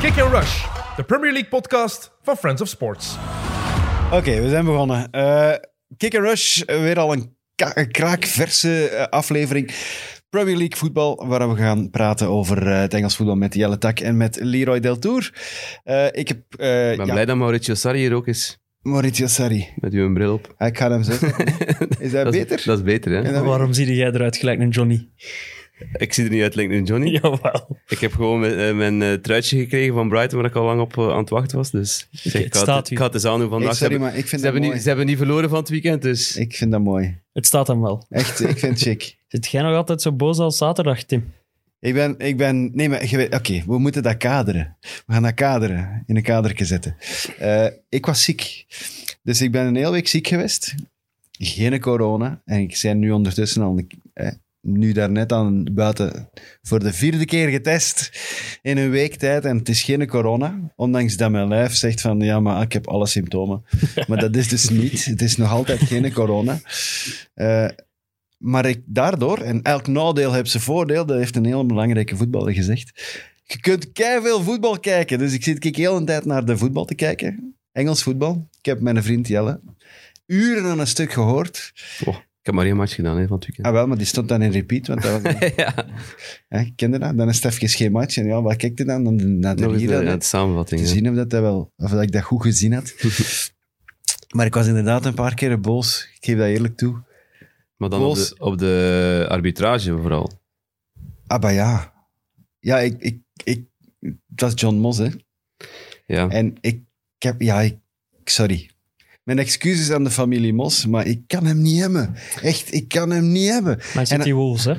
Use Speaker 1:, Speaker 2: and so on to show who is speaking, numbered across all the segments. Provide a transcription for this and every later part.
Speaker 1: Kick and Rush, de Premier League podcast van Friends of Sports.
Speaker 2: Oké, we zijn begonnen. Eh, Kick and Rush, eh, weer al een, ka- een kraakverse eh, aflevering. Premier League voetbal, waar we gaan praten over eh, het Engels voetbal met Jelle Tak en met Leroy Del Tour. Eh, ik heb eh,
Speaker 3: Ik ben
Speaker 2: ja,
Speaker 3: blij dat Mauricio Sarri hier ook is,
Speaker 2: Mauricio Sarri.
Speaker 3: met uw bril op.
Speaker 2: Ah, Ik ga hem zetten. Is hij
Speaker 3: Dat is-
Speaker 2: Eh, beter?
Speaker 3: Dat is beter, hè?
Speaker 2: En dan-
Speaker 4: Waarom zie jij eruit gelijk een Johnny?
Speaker 3: Ik zie er niet uit, LinkedIn Johnny.
Speaker 4: Jawel.
Speaker 3: Ik heb gewoon mijn, eh, mijn eh, truitje gekregen van Brighton, waar ik al lang op eh, aan het wachten was. Dus ik, zeg,
Speaker 4: het
Speaker 3: ik, had,
Speaker 4: staat
Speaker 3: het- ik
Speaker 4: hier.
Speaker 3: had het eens aan doen
Speaker 2: Hey,
Speaker 3: vandaag. Ze
Speaker 2: sorry,
Speaker 3: hebben-
Speaker 2: maar ik vind dat
Speaker 3: ze, hebben
Speaker 2: mooi.
Speaker 3: niet, ze hebben niet verloren van het weekend, dus...
Speaker 2: Ik vind dat mooi.
Speaker 4: Het staat hem wel.
Speaker 2: Echt, ik vind het chic.
Speaker 4: Zit jij nog altijd zo boos als zaterdag, Tim?
Speaker 2: Ik ben, ik ben, nee, maar je weet- oké, we moeten dat kaderen. We gaan dat kaderen, in een kadertje zetten. Eh, ik was ziek. Dus ik ben een hele week ziek geweest. Geen corona. En ik ben nu ondertussen al, eh, nu daarnet aan buiten, voor de vierde keer getest in een week tijd. En het is geen corona. Ondanks dat mijn lijf zegt van, ja, maar ik heb alle symptomen. Maar dat is dus niet. Het is nog altijd geen corona. Eh, maar ik, daardoor, en elk nadeel heeft zijn voordeel, dat heeft een heel belangrijke voetballer gezegd. Je kunt veel voetbal kijken. Dus ik zit kijk heel een tijd naar de voetbal te kijken. Engels voetbal. Ik heb mijn vriend Jelle uren aan een stuk gehoord.
Speaker 3: Oh, ik heb maar één match gedaan hè, van het weekend.
Speaker 2: Ah wel, maar die stond dan in repeat, want dat was...
Speaker 3: ja,
Speaker 2: hè, je kende dat? Dan is het even geen match. En ja, wat kijkt hij dan? Dan de- naar de
Speaker 3: nog eens
Speaker 2: Liga,
Speaker 3: de,
Speaker 2: hè.
Speaker 3: ja, de samenvatting.
Speaker 2: te
Speaker 3: hè.
Speaker 2: zien of, dat dat wel, of dat ik dat goed gezien had. maar ik was inderdaad een paar keren boos. Ik geef dat eerlijk toe.
Speaker 3: Maar dan op
Speaker 2: Goals.
Speaker 3: de, op de arbitrage vooral.
Speaker 2: Ah, bah ja. Ja, ik... ik, ik dat is John Moss, hè.
Speaker 3: Ja.
Speaker 2: En ik, ik heb, ja, ik, sorry. Mijn excuses aan de familie Mos, maar ik kan hem niet hebben. Echt, ik kan hem niet hebben.
Speaker 4: Maar
Speaker 2: En-
Speaker 4: City Wolves, hè?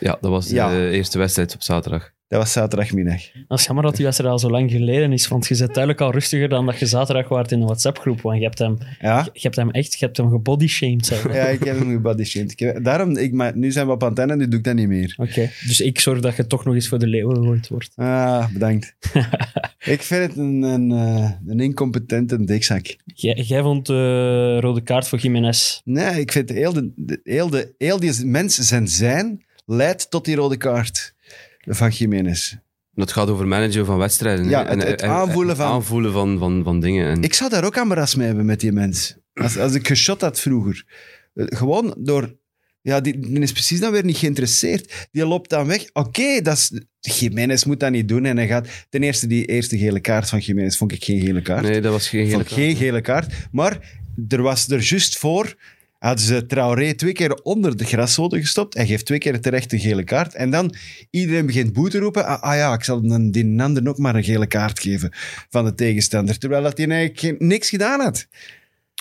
Speaker 3: ja, dat was de
Speaker 2: Ja.
Speaker 3: eh, eerste wedstrijd op zaterdag.
Speaker 2: Dat was zaterdagmiddag.
Speaker 4: Dat is jammer dat die wedstrijd al zo lang geleden is, want je zit duidelijk al rustiger dan dat je zaterdag waart in de WhatsApp-groep, want je hebt hem,
Speaker 2: Ja?
Speaker 4: je hebt hem echt, je hebt hem gebodyshamed, zeg. Oké,
Speaker 2: Ja, ik heb hem gebodyshamed. Daarom, ik, maar nu zijn we op antenne, nu doe ik dat niet meer.
Speaker 4: dus ik zorg dat je toch nog eens voor de leeuw gegooid wordt.
Speaker 2: Ah, bedankt. ik vind het een, een, eh, een incompetente dikzak.
Speaker 4: Jij, jij vond de rode kaart voor Jiménez.
Speaker 2: Nee, ik vind heel, de, de- heel, de, heel die mensen zijn zijn leidt tot die rode kaart van Jiménez.
Speaker 3: Dat gaat over managen van wedstrijden. hè. eh,
Speaker 2: Ja, het- het aanvoelen van-
Speaker 3: aanvoelen van, van, van dingen. En,
Speaker 2: Ik zou daar ook aan bras mee hebben met die mens. Als, als ik geschot had vroeger. Eh, Gewoon door... Ja, die, die is precies dan weer niet geïnteresseerd. Die loopt dan weg. Oké, dat is... Jiménez moet dat niet doen. En hij gaat... Ten eerste, die eerste gele kaart van Jiménez vond ik geen gele kaart.
Speaker 3: nee, dat was geen
Speaker 2: vond
Speaker 3: gele
Speaker 2: ik geen gele kaart. Maar er was er juist voor... Hadden ze Traoré twee keer onder de graszoden gestopt. Hij geeft twee keer terecht een gele kaart. En dan iedereen begint boe te roepen. Ah, ah ja, ik zal dan die ander ook maar een gele kaart geven van de tegenstander. Terwijl dat hij eigenlijk geen- niks gedaan had.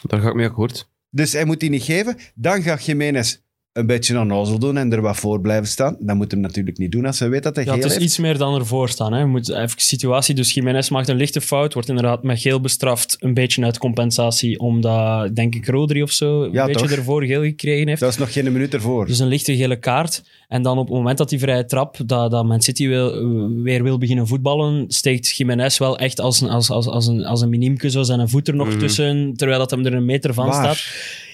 Speaker 3: Daar ga ik mee akkoord.
Speaker 2: Dus hij moet die niet geven. Dan gaat Jiménez een beetje onnozel doen en er wat voor blijven staan. Dat moet hem natuurlijk niet doen als hij weet dat hij
Speaker 4: Ja,
Speaker 2: geel
Speaker 4: het is
Speaker 2: heeft.
Speaker 4: iets meer dan ervoor staan. Hè. Je moet even situatie. Dus Jiménez maakt een lichte fout, wordt inderdaad met geel bestraft. Een beetje uit compensatie, omdat, denk ik, Rodri of zo een
Speaker 2: Ja,
Speaker 4: beetje
Speaker 2: toch?
Speaker 4: ervoor geel gekregen heeft.
Speaker 2: Dat was nog geen minuut ervoor.
Speaker 4: Dus een lichte gele kaart. En dan op het moment dat die vrije trap, dat, dat Man City wil, weer wil beginnen voetballen, steekt Jiménez wel echt als een, als, als, als een, als een miniemke zo zijn voet er nog
Speaker 3: Mhm.
Speaker 4: tussen, terwijl dat hem er een meter van
Speaker 2: Waar?
Speaker 4: staat.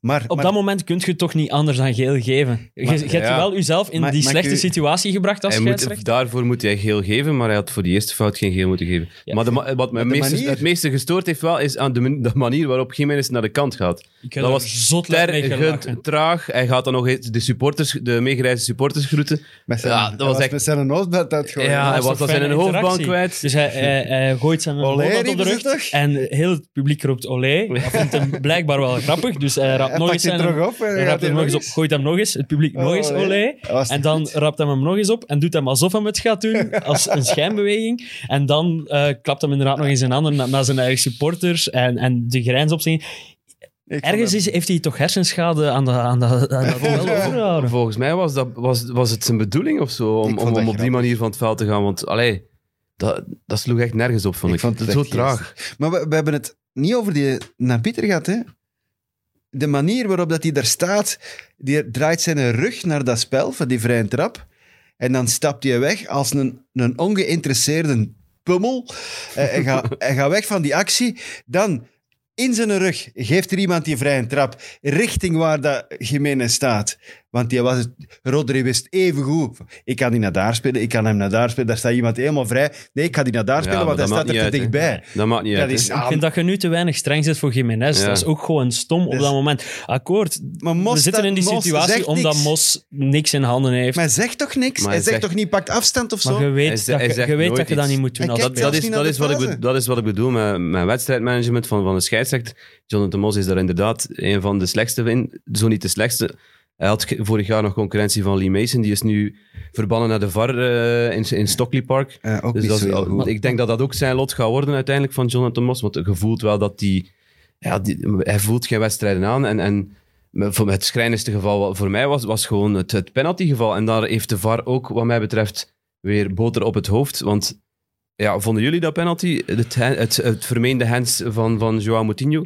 Speaker 2: Maar,
Speaker 4: Op
Speaker 2: maar-
Speaker 4: dat moment kun je het toch niet anders dan geel geven. Je,
Speaker 3: Maar-
Speaker 4: je hebt
Speaker 3: ja.
Speaker 4: wel jezelf in
Speaker 2: Maar-
Speaker 4: die
Speaker 2: maar
Speaker 4: slechte
Speaker 2: kun-
Speaker 4: situatie gebracht als
Speaker 3: Hij
Speaker 4: scheidsrechter.
Speaker 3: moet, daarvoor moet hij geel geven, maar hij had voor die eerste fout geen geel moeten geven.
Speaker 4: Ja.
Speaker 3: Maar de ma- wat mij
Speaker 2: Maar de
Speaker 3: meeste-
Speaker 2: manier-
Speaker 3: het meeste gestoord heeft wel, is aan de, man- de manier waarop Jiménez naar de kant gaat.
Speaker 4: Ik heb
Speaker 3: dat
Speaker 4: er
Speaker 3: was
Speaker 4: zot lekker mee gelachen.
Speaker 3: Tergend, traag. Hij gaat dan nog eens de, supporters, de meegereisde supporters groeten.
Speaker 2: met zijn,
Speaker 3: Ja,
Speaker 2: dat
Speaker 3: dat
Speaker 2: was
Speaker 3: was
Speaker 2: echt...
Speaker 3: echt-
Speaker 2: met zijn noodbed uitgooien.
Speaker 3: Ja,
Speaker 4: dat
Speaker 3: hij
Speaker 4: is
Speaker 3: was
Speaker 4: toch
Speaker 3: dan zijn
Speaker 4: fijne
Speaker 3: hoofdbank
Speaker 4: interactie.
Speaker 3: kwijt.
Speaker 4: Dus hij, hij, hij gooit zijn
Speaker 2: Olé,
Speaker 4: hoofdband op de
Speaker 2: riepen ze
Speaker 4: rug.
Speaker 2: toch?
Speaker 4: En heel het publiek roept olé. Dat vindt hem blijkbaar wel grappig. Dus hij raapt
Speaker 2: Hij
Speaker 4: nog
Speaker 2: pakt die
Speaker 4: eens zijn...
Speaker 2: terug op en
Speaker 4: Hij
Speaker 2: hij gaat
Speaker 4: raapt
Speaker 2: die
Speaker 4: hem nog eens op, gooit hem nog eens, het publiek nog eens
Speaker 2: Olé.
Speaker 4: olé.
Speaker 2: Dat was
Speaker 4: En
Speaker 2: niet
Speaker 4: dan
Speaker 2: goed.
Speaker 4: raapt hij hem nog eens op en doet hem alsof hij het gaat doen, als een schijnbeweging. En dan eh, klapt hem inderdaad nog eens zijn handen na- naar zijn eigen supporters en, en de grijns op zijn...
Speaker 2: Ik vond
Speaker 4: Ergens
Speaker 2: hem-
Speaker 4: is, heeft hij toch hersenschade aan, de, aan, de, aan dat duel overgehouden.
Speaker 3: Volgens mij was, dat, was, was het zijn bedoeling of zo,
Speaker 2: Ik
Speaker 3: om,
Speaker 2: vond dat
Speaker 3: om, om op die
Speaker 2: grappig.
Speaker 3: manier van het veld te gaan. Want allee, dat, dat sloeg echt nergens op, vond
Speaker 2: Ik
Speaker 3: ik.
Speaker 2: vond het
Speaker 3: zo
Speaker 2: echt
Speaker 3: traag.
Speaker 2: Maar we, we hebben het niet over die naar Pieter gaat, hè. De manier waarop dat hij daar staat, die draait zijn rug naar dat spel, van die vrije trap. En dan stapt hij weg als een, een ongeïnteresseerde pummel. Eh, Hij gaat hij gaat weg van die actie. Dan, in zijn rug, geeft er iemand die vrije trap richting waar dat Jiménez staat. Want die was het, Rodri wist even goed. Ik kan die naar daar spelen, ik kan hem naar daar spelen. Daar staat iemand helemaal vrij. Nee, ik ga die naar daar spelen,
Speaker 3: maar
Speaker 2: want hij
Speaker 3: dat
Speaker 2: staat
Speaker 3: maakt
Speaker 2: er te
Speaker 3: niet uit, hè.
Speaker 2: dichtbij.
Speaker 3: Dat maakt niet
Speaker 2: Dat
Speaker 3: uit. hè.
Speaker 2: is,
Speaker 4: Ik vind dat je nu te weinig streng zit voor Jiménez.
Speaker 3: Ja.
Speaker 4: Dat is ook gewoon stom op
Speaker 2: Dus-
Speaker 4: dat moment. Akkoord,
Speaker 2: maar Mos,
Speaker 4: we zitten in die
Speaker 2: Mos
Speaker 4: situatie
Speaker 2: zegt
Speaker 4: omdat
Speaker 2: niks.
Speaker 4: Mos niks in handen heeft.
Speaker 2: Maar hij zegt toch niks?
Speaker 3: Maar
Speaker 2: hij
Speaker 3: hij
Speaker 2: zegt
Speaker 3: zegt-
Speaker 2: toch niet, pakt afstand of zo?
Speaker 4: Maar je
Speaker 3: Hij
Speaker 4: weet
Speaker 3: ze-
Speaker 4: dat
Speaker 3: hij
Speaker 4: je-
Speaker 3: zegt
Speaker 4: je weet dat
Speaker 3: nooit
Speaker 4: je dat
Speaker 3: iets.
Speaker 4: niet moet doen.
Speaker 2: Hij
Speaker 4: als
Speaker 2: kijkt
Speaker 4: dat-
Speaker 3: Dat
Speaker 2: zelfs
Speaker 3: is,
Speaker 2: niet
Speaker 3: dat,
Speaker 2: naar
Speaker 3: is
Speaker 2: de
Speaker 3: wat ik, be-
Speaker 2: fase.
Speaker 3: dat is wat ik bedoel met mijn wedstrijdmanagement van, van de scheidsrechter. Jonathan Mos is daar inderdaad een van de slechtste in, zo niet de slechtste. Hij had ge- vorig jaar nog concurrentie van Lee Mason, die is nu verbannen naar de VAR eh, in, in Stockley Park.
Speaker 2: Eh, ook
Speaker 3: Dus
Speaker 2: niet
Speaker 3: dat
Speaker 2: zo
Speaker 3: is-
Speaker 2: heel goed.
Speaker 3: ik denk dat dat ook zijn lot gaat worden uiteindelijk van Jonathan Mos, want je voelt wel dat die, ja, die hij voelt geen wedstrijden aan en... en voor het schrijnendste geval wat voor mij was, was gewoon het, het penaltygeval. En daar heeft de VAR ook, wat mij betreft, weer boter op het hoofd. Want ja, vonden jullie dat penalty? Het, hen- het, het vermeende hands van, van Joao Moutinho?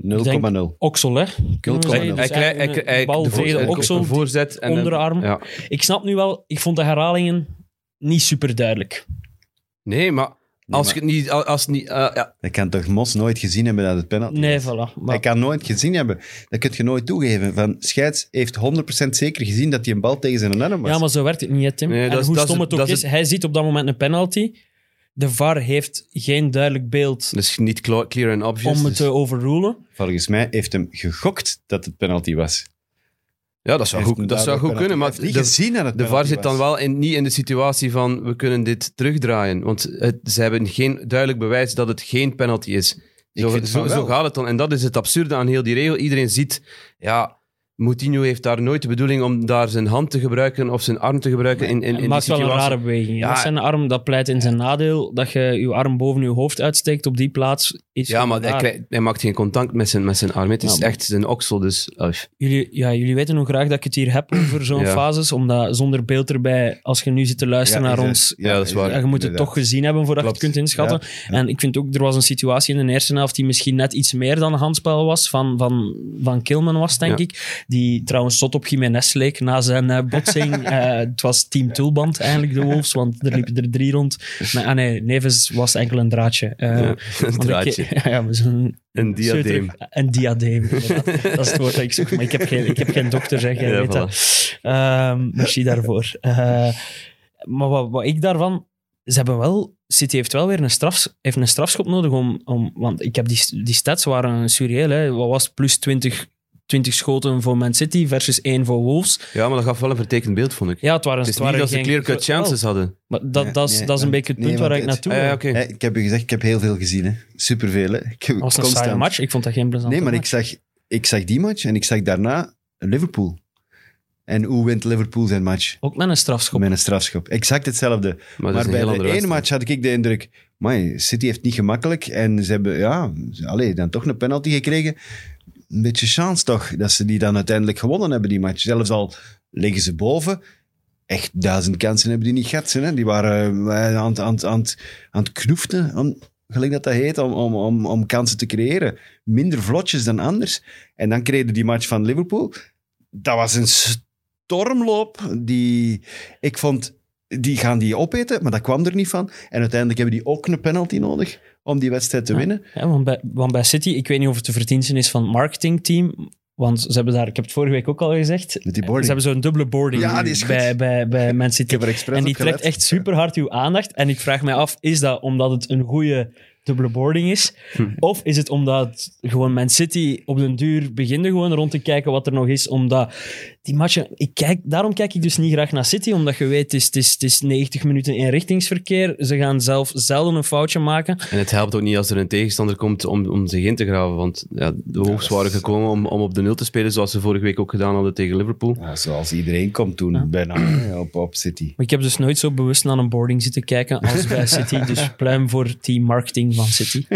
Speaker 2: 0,0.
Speaker 4: Oksel, hè? Kunnen we
Speaker 2: 0,0.
Speaker 4: zeggen. Dus
Speaker 3: Hij krijgt hij,
Speaker 4: eigenlijk
Speaker 3: krijgt- hij,
Speaker 4: een bal
Speaker 3: de voor-
Speaker 4: via de
Speaker 3: hij-
Speaker 4: oksel.
Speaker 3: een voorzet en een-
Speaker 4: onderarm.
Speaker 3: ja.
Speaker 4: Ik snap nu wel, ik vond de herhalingen niet super duidelijk.
Speaker 3: Nee, maar als
Speaker 2: maar-
Speaker 3: je het niet... Als het niet eh, ja.
Speaker 2: Dat kan toch Mos nooit gezien hebben dat het penalty
Speaker 4: Nee,
Speaker 2: was?
Speaker 4: voilà. Maar
Speaker 2: Hij kan nooit gezien hebben. Dat kun je nooit toegeven. Van Scheids heeft 100% zeker gezien dat hij een bal tegen zijn arm was.
Speaker 4: Ja, maar zo werkt het niet, hè, Tim.
Speaker 3: Nee, dat
Speaker 4: en
Speaker 3: is-
Speaker 4: hoe
Speaker 3: dat is
Speaker 4: stom
Speaker 3: het-
Speaker 4: het ook
Speaker 3: dat
Speaker 4: is,
Speaker 3: is
Speaker 4: hij ziet op dat moment een penalty. De VAR heeft geen duidelijk beeld
Speaker 3: Dus niet cla- clear and obvious.
Speaker 4: om het
Speaker 3: dus-
Speaker 4: te overrulen.
Speaker 2: Volgens mij heeft hem gegokt dat het penalty was.
Speaker 3: ja, dat zou
Speaker 2: Heeft
Speaker 3: goed, dat zou goed kunnen, maar...
Speaker 2: Hij heeft niet
Speaker 3: de-
Speaker 2: gezien dat het
Speaker 3: De VAR
Speaker 2: penalty
Speaker 3: zit dan
Speaker 2: was.
Speaker 3: wel in, niet in de situatie van we kunnen dit terugdraaien. Want het, ze hebben geen duidelijk bewijs dat het geen penalty is. Zo,
Speaker 2: vind
Speaker 3: zo,
Speaker 2: van
Speaker 3: zo
Speaker 2: wel.
Speaker 3: gaat het dan. En dat is het absurde aan heel die regel. Iedereen ziet, ja, Moutinho heeft daar nooit de bedoeling om daar zijn hand te gebruiken of zijn arm te gebruiken in, in,
Speaker 4: Het
Speaker 3: in die
Speaker 4: maakt wel een
Speaker 3: situatie.
Speaker 4: rare beweging.
Speaker 3: Ja.
Speaker 4: Dat zijn arm, dat pleit in zijn nadeel. Dat je je arm boven je hoofd uitsteekt op die plaats. Is
Speaker 3: Ja, maar hij,
Speaker 4: raar.
Speaker 3: krijgt- hij maakt geen contact met zijn, met zijn arm. Het is
Speaker 4: Ja, maar-
Speaker 3: echt zijn oksel, dus... uif.
Speaker 4: jullie, ja, jullie weten hoe graag dat ik het hier heb over zo'n
Speaker 3: Ja.
Speaker 4: fases. Omdat zonder beeld erbij, als je nu zit te luisteren
Speaker 2: Ja,
Speaker 4: naar
Speaker 2: is
Speaker 4: ons,
Speaker 2: het-
Speaker 3: Ja, dat is waar.
Speaker 4: Ja, je moet het toch gezien hebben voordat
Speaker 2: Klopt.
Speaker 4: je het kunt inschatten. En ik vind ook, er was een situatie in de eerste helft die misschien net iets meer dan een handspel was, van, van, van Kilman was, denk
Speaker 3: Ja.
Speaker 4: ik. Die trouwens tot op Jiménez leek na zijn eh, botsing. Eh, het was team Tulband eigenlijk, de Wolves, want er liepen er drie rond. Maar, ah nee, Neves was enkel een draadje. Eh,
Speaker 3: Ja, een
Speaker 4: want ik-
Speaker 3: draadje.
Speaker 4: ja, maar zo'n
Speaker 3: Een diadeem.
Speaker 4: Zeuter- Een diadeem, inderdaad. Dat is het woord dat ik zoek. Maar ik heb geen, ik heb geen dokter, zeg. Jij
Speaker 3: Ja,
Speaker 4: weet dat. Ehm, merci daarvoor. Eh, maar wat, wat ik daarvan... Ze hebben wel... City heeft wel weer een, straf, heeft een strafschop nodig om... om want ik heb die, die stats waren surreal. Hè. Wat was het? Plus 20, 20 schoten voor Man City versus 1 voor Wolves.
Speaker 3: Ja, maar dat gaf wel een vertekend beeld, vond ik.
Speaker 4: Ja, het waren,
Speaker 3: Het is
Speaker 4: het waren
Speaker 3: niet dat ze
Speaker 4: geen- Oh.
Speaker 3: clear-cut chances hadden.
Speaker 4: Maar dat,
Speaker 2: Nee,
Speaker 4: dat, is,
Speaker 2: nee,
Speaker 4: dat is een
Speaker 2: want-
Speaker 4: beetje het
Speaker 2: nee,
Speaker 4: punt waar
Speaker 2: want
Speaker 4: ik
Speaker 2: het-
Speaker 4: naartoe
Speaker 3: Ah,
Speaker 4: wil.
Speaker 3: ja,
Speaker 4: Dat
Speaker 3: oké.
Speaker 2: Hè, ik heb u gezegd, ik heb heel veel gezien. Hè. Superveel. Hè. Ik heb
Speaker 4: was een saaie
Speaker 2: constant-
Speaker 4: match. Ik vond dat geen plezant
Speaker 2: Nee, maar ik zag, ik zag die match en ik zag daarna Liverpool. En hoe wint Liverpool zijn match?
Speaker 4: Ook met een strafschop.
Speaker 2: Met een strafschop. Exact hetzelfde.
Speaker 3: Maar, dat
Speaker 2: Maar
Speaker 3: is een
Speaker 2: bij
Speaker 3: heel
Speaker 2: de
Speaker 3: andere
Speaker 2: ene
Speaker 3: wedstrijd.
Speaker 2: match had ik de indruk, man, City heeft het niet gemakkelijk. En ze hebben, ja, ze- allee, dan toch een penalty gekregen. Een beetje chance toch, dat ze die dan uiteindelijk gewonnen hebben, die match. Zelfs al liggen ze boven, echt duizend kansen hebben die niet gehad. ze, Hè? Die waren eh, aan, het- aan, het- aan, het- aan het knoeften, om, gelijk dat dat heet, om, om, om, om kansen te creëren. Minder vlotjes dan anders. En dan kregen die match van Liverpool. Dat was een stormloop die... Ik vond, die gaan die opeten, maar dat kwam er niet van. En uiteindelijk hebben die ook een penalty nodig om die wedstrijd te
Speaker 4: Ja.
Speaker 2: winnen.
Speaker 4: Ja, want, bij, want bij City, ik weet niet of het de verdiensten is van het marketingteam. Want ze hebben daar, ik heb het vorige week ook al gezegd,
Speaker 2: Met die
Speaker 4: ze
Speaker 2: boarding.
Speaker 4: hebben zo'n dubbele boarding
Speaker 2: Ja,
Speaker 4: nu
Speaker 2: die is goed.
Speaker 4: bij, bij, bij Man
Speaker 2: Ik
Speaker 4: City.
Speaker 2: heb er expres
Speaker 4: En die
Speaker 2: op gelet.
Speaker 4: trekt echt super hard uw aandacht. En ik vraag mij af, is dat omdat het een goede dubbele boarding is?
Speaker 2: Hm.
Speaker 4: Of is het omdat gewoon Man City op den duur begint gewoon rond te kijken wat er nog is? Omdat die matchen... Ik kijk, daarom kijk ik dus niet graag naar City, omdat je weet, het is, het is, het is 90 minuten inrichtingsverkeer. Ze gaan zelf zelden een foutje maken.
Speaker 3: En het helpt ook niet als er een tegenstander komt om, om zich in te graven. Want ja, de hoogst waren gekomen om, om op de nul te spelen, zoals ze vorige week ook gedaan hadden tegen Liverpool.
Speaker 2: Ja, zoals iedereen komt toen, bijna, hè, op, op City.
Speaker 4: Maar ik heb dus nooit zo bewust naar een boarding zitten kijken als bij City. Dus pluim voor team marketing van City.